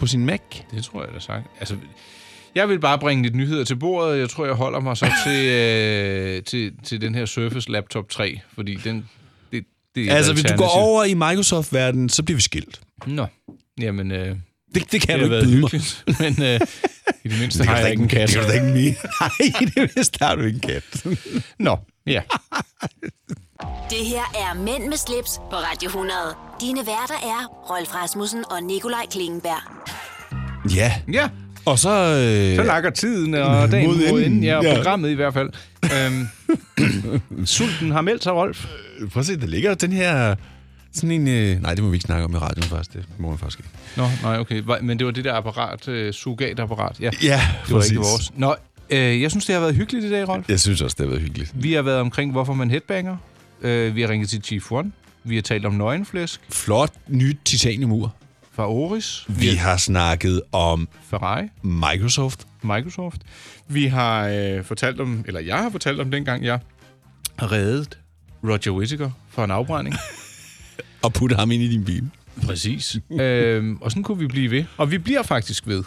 S2: på sin Mac?
S3: Det tror jeg da sagt. Altså, jeg vil bare bringe lidt nyheder til bordet. Jeg tror, jeg holder
S2: *laughs*
S3: mig så til, øh, til, til den her Surface Laptop 3, fordi den... Det, det er et
S2: altså, hvis du går
S3: alternativ.
S2: over i Microsoft-verdenen, så bliver vi skilt.
S3: Nå, jamen... Øh,
S2: det, det kan
S3: har
S2: du ikke
S3: været
S2: byde mig.
S3: hyggeligt, *laughs* Men øh, i det mindste
S2: Det kan
S3: har
S2: du da
S3: jeg ikke en
S2: ikke- *laughs*
S3: kasse.
S2: det kan du da ikke mere. Nej, det mindste har du ikke en
S3: *laughs*
S2: kat.
S3: Nå, ja.
S1: Det her er Mænd med slips på Radio 100. Dine værter er Rolf Rasmussen og Nikolaj Klingenberg.
S2: Ja.
S3: Ja.
S2: Og så... Øh,
S3: Så lakker tiden, og dagen mod enden. Ja, og programmet i hvert fald.
S2: *coughs*
S3: Øhm, sulten har meldt sig, Rolf.
S2: Øh, Prøv at se, der ligger den her... Sådan en... Øh, nej, det må vi ikke snakke om i radioen først. Det må man faktisk ikke.
S3: Nå, nej, okay. Hva- Men det var det der apparat, øh, surrogatapparat. Ja,
S2: Ja,
S3: det var
S2: præcis.
S3: ikke vores. Nå, øh, jeg synes, det har været hyggeligt i dag, Rolf.
S2: Jeg synes også, det har været hyggeligt.
S3: Vi har været omkring, hvorfor man headbanger. Øh, vi har ringet til Chief One. Vi har talt om nøgenflæsk.
S2: Flot nyt titaniumur.
S3: Fra Oris.
S2: Vi har snakket om...
S3: Ferrari.
S2: Microsoft.
S3: Microsoft. Vi har øh, fortalt om, eller jeg har fortalt om dengang, jeg reddet Roger Whittaker for en
S2: *laughs*
S3: afbrænding.
S2: og putte ham ind i din bil.
S3: Præcis. øhm, og sådan kunne vi blive ved. Og vi bliver faktisk ved.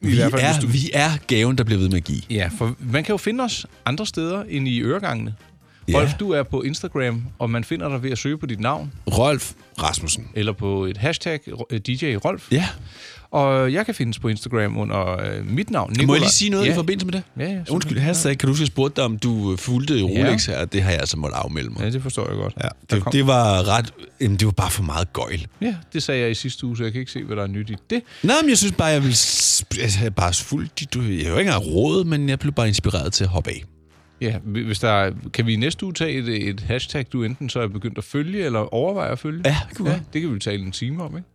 S2: Vi,
S3: hvert fald,
S2: er,
S3: hvis du-
S2: vi er gaven, der bliver ved med at give.
S3: Ja, for man kan jo finde os andre steder end i øregangene.
S2: Ja.
S3: Ja. Rolf, du er på Instagram, og man finder dig ved at søge på dit navn.
S2: Rolf Rasmussen.
S3: Eller på et hashtag, øh, DJ Rolf.
S2: Ja.
S3: Og jeg kan findes på Instagram under øh, mit navn,
S2: Må
S3: Nicolaj.
S2: jeg lige sige noget
S3: ja.
S2: i forbindelse med det?
S3: Ja, ja.
S2: Undskyld, hashtag, kan du huske, jeg spurgte dig, om du øh, fulgte Rolex her? Det har jeg altså måtte afmelde mig.
S3: Ja, det forstår jeg godt.
S2: Ja, det, det var ret... Jamen, det var bare for meget gøjl.
S3: Ja, det sagde jeg i sidste uge, så jeg kan ikke se, hvad der er nyt i det.
S2: Nå, men jeg synes bare, jeg vil... sp- Altså, jeg bare fuldt... dit- Du, jeg har jo ikke engang råd, men jeg blev bare inspireret til at hoppe af.
S3: Ja, hvis der er, kan vi i næste uge tage et, et hashtag, du enten så er begyndt at følge, eller overvejer at følge? Ja, det
S2: kunne
S3: ja, det kan vi tale en time om, ikke?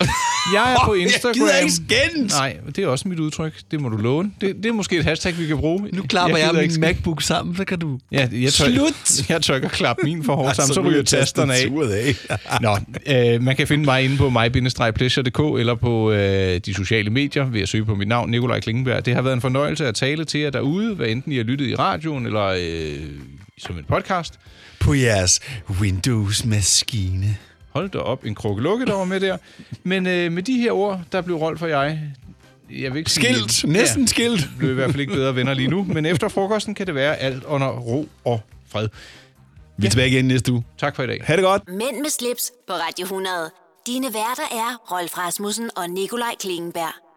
S3: *laughs* Jeg er på
S2: Åh, jeg
S3: Instagram.
S2: gider ikke skændes!
S3: Nej, det er også mit udtryk. Det må du låne. Det, det er måske et hashtag, vi kan bruge.
S2: Nu klapper jeg,
S3: gider
S2: jeg
S3: ikke
S2: min
S3: skændes.
S2: MacBook sammen, så kan du...
S3: Ja, jeg tør,
S2: Slut!
S3: *laughs*
S2: Altså,
S3: Jeg tør ikke at klappe min for
S2: Ej,
S3: hårdt sammen,
S2: så
S3: så ryger
S2: ryger
S3: tasterne af.
S2: tastaturet
S3: *laughs* Nå, øh, man kan finde mig inde på mig-pleasure.dk eller på øh, de sociale medier ved at søge på mit navn, Nikolaj Klingenberg. Det har været en fornøjelse at tale til jer derude, hvad enten I har lyttet i radioen eller øh, som en podcast.
S2: På jeres Windows-maskine.
S3: Hold da op, en krukke lukke, der var med der. Men øh, med de her ord, der blev Rolf og jeg... Jeg vil ikke sige-
S2: Skilt. Næsten skilt.
S3: Blev i hvert fald ikke bedre venner lige nu, men efter frokosten kan det være alt under ro og fred.
S2: Vi er tilbage igen næste uge.
S3: Tak for i dag.
S2: Ha' det godt.
S1: Mænd med slips på Radio 100. Dine værter er Rolf Rasmussen og Nikolaj Klingenberg.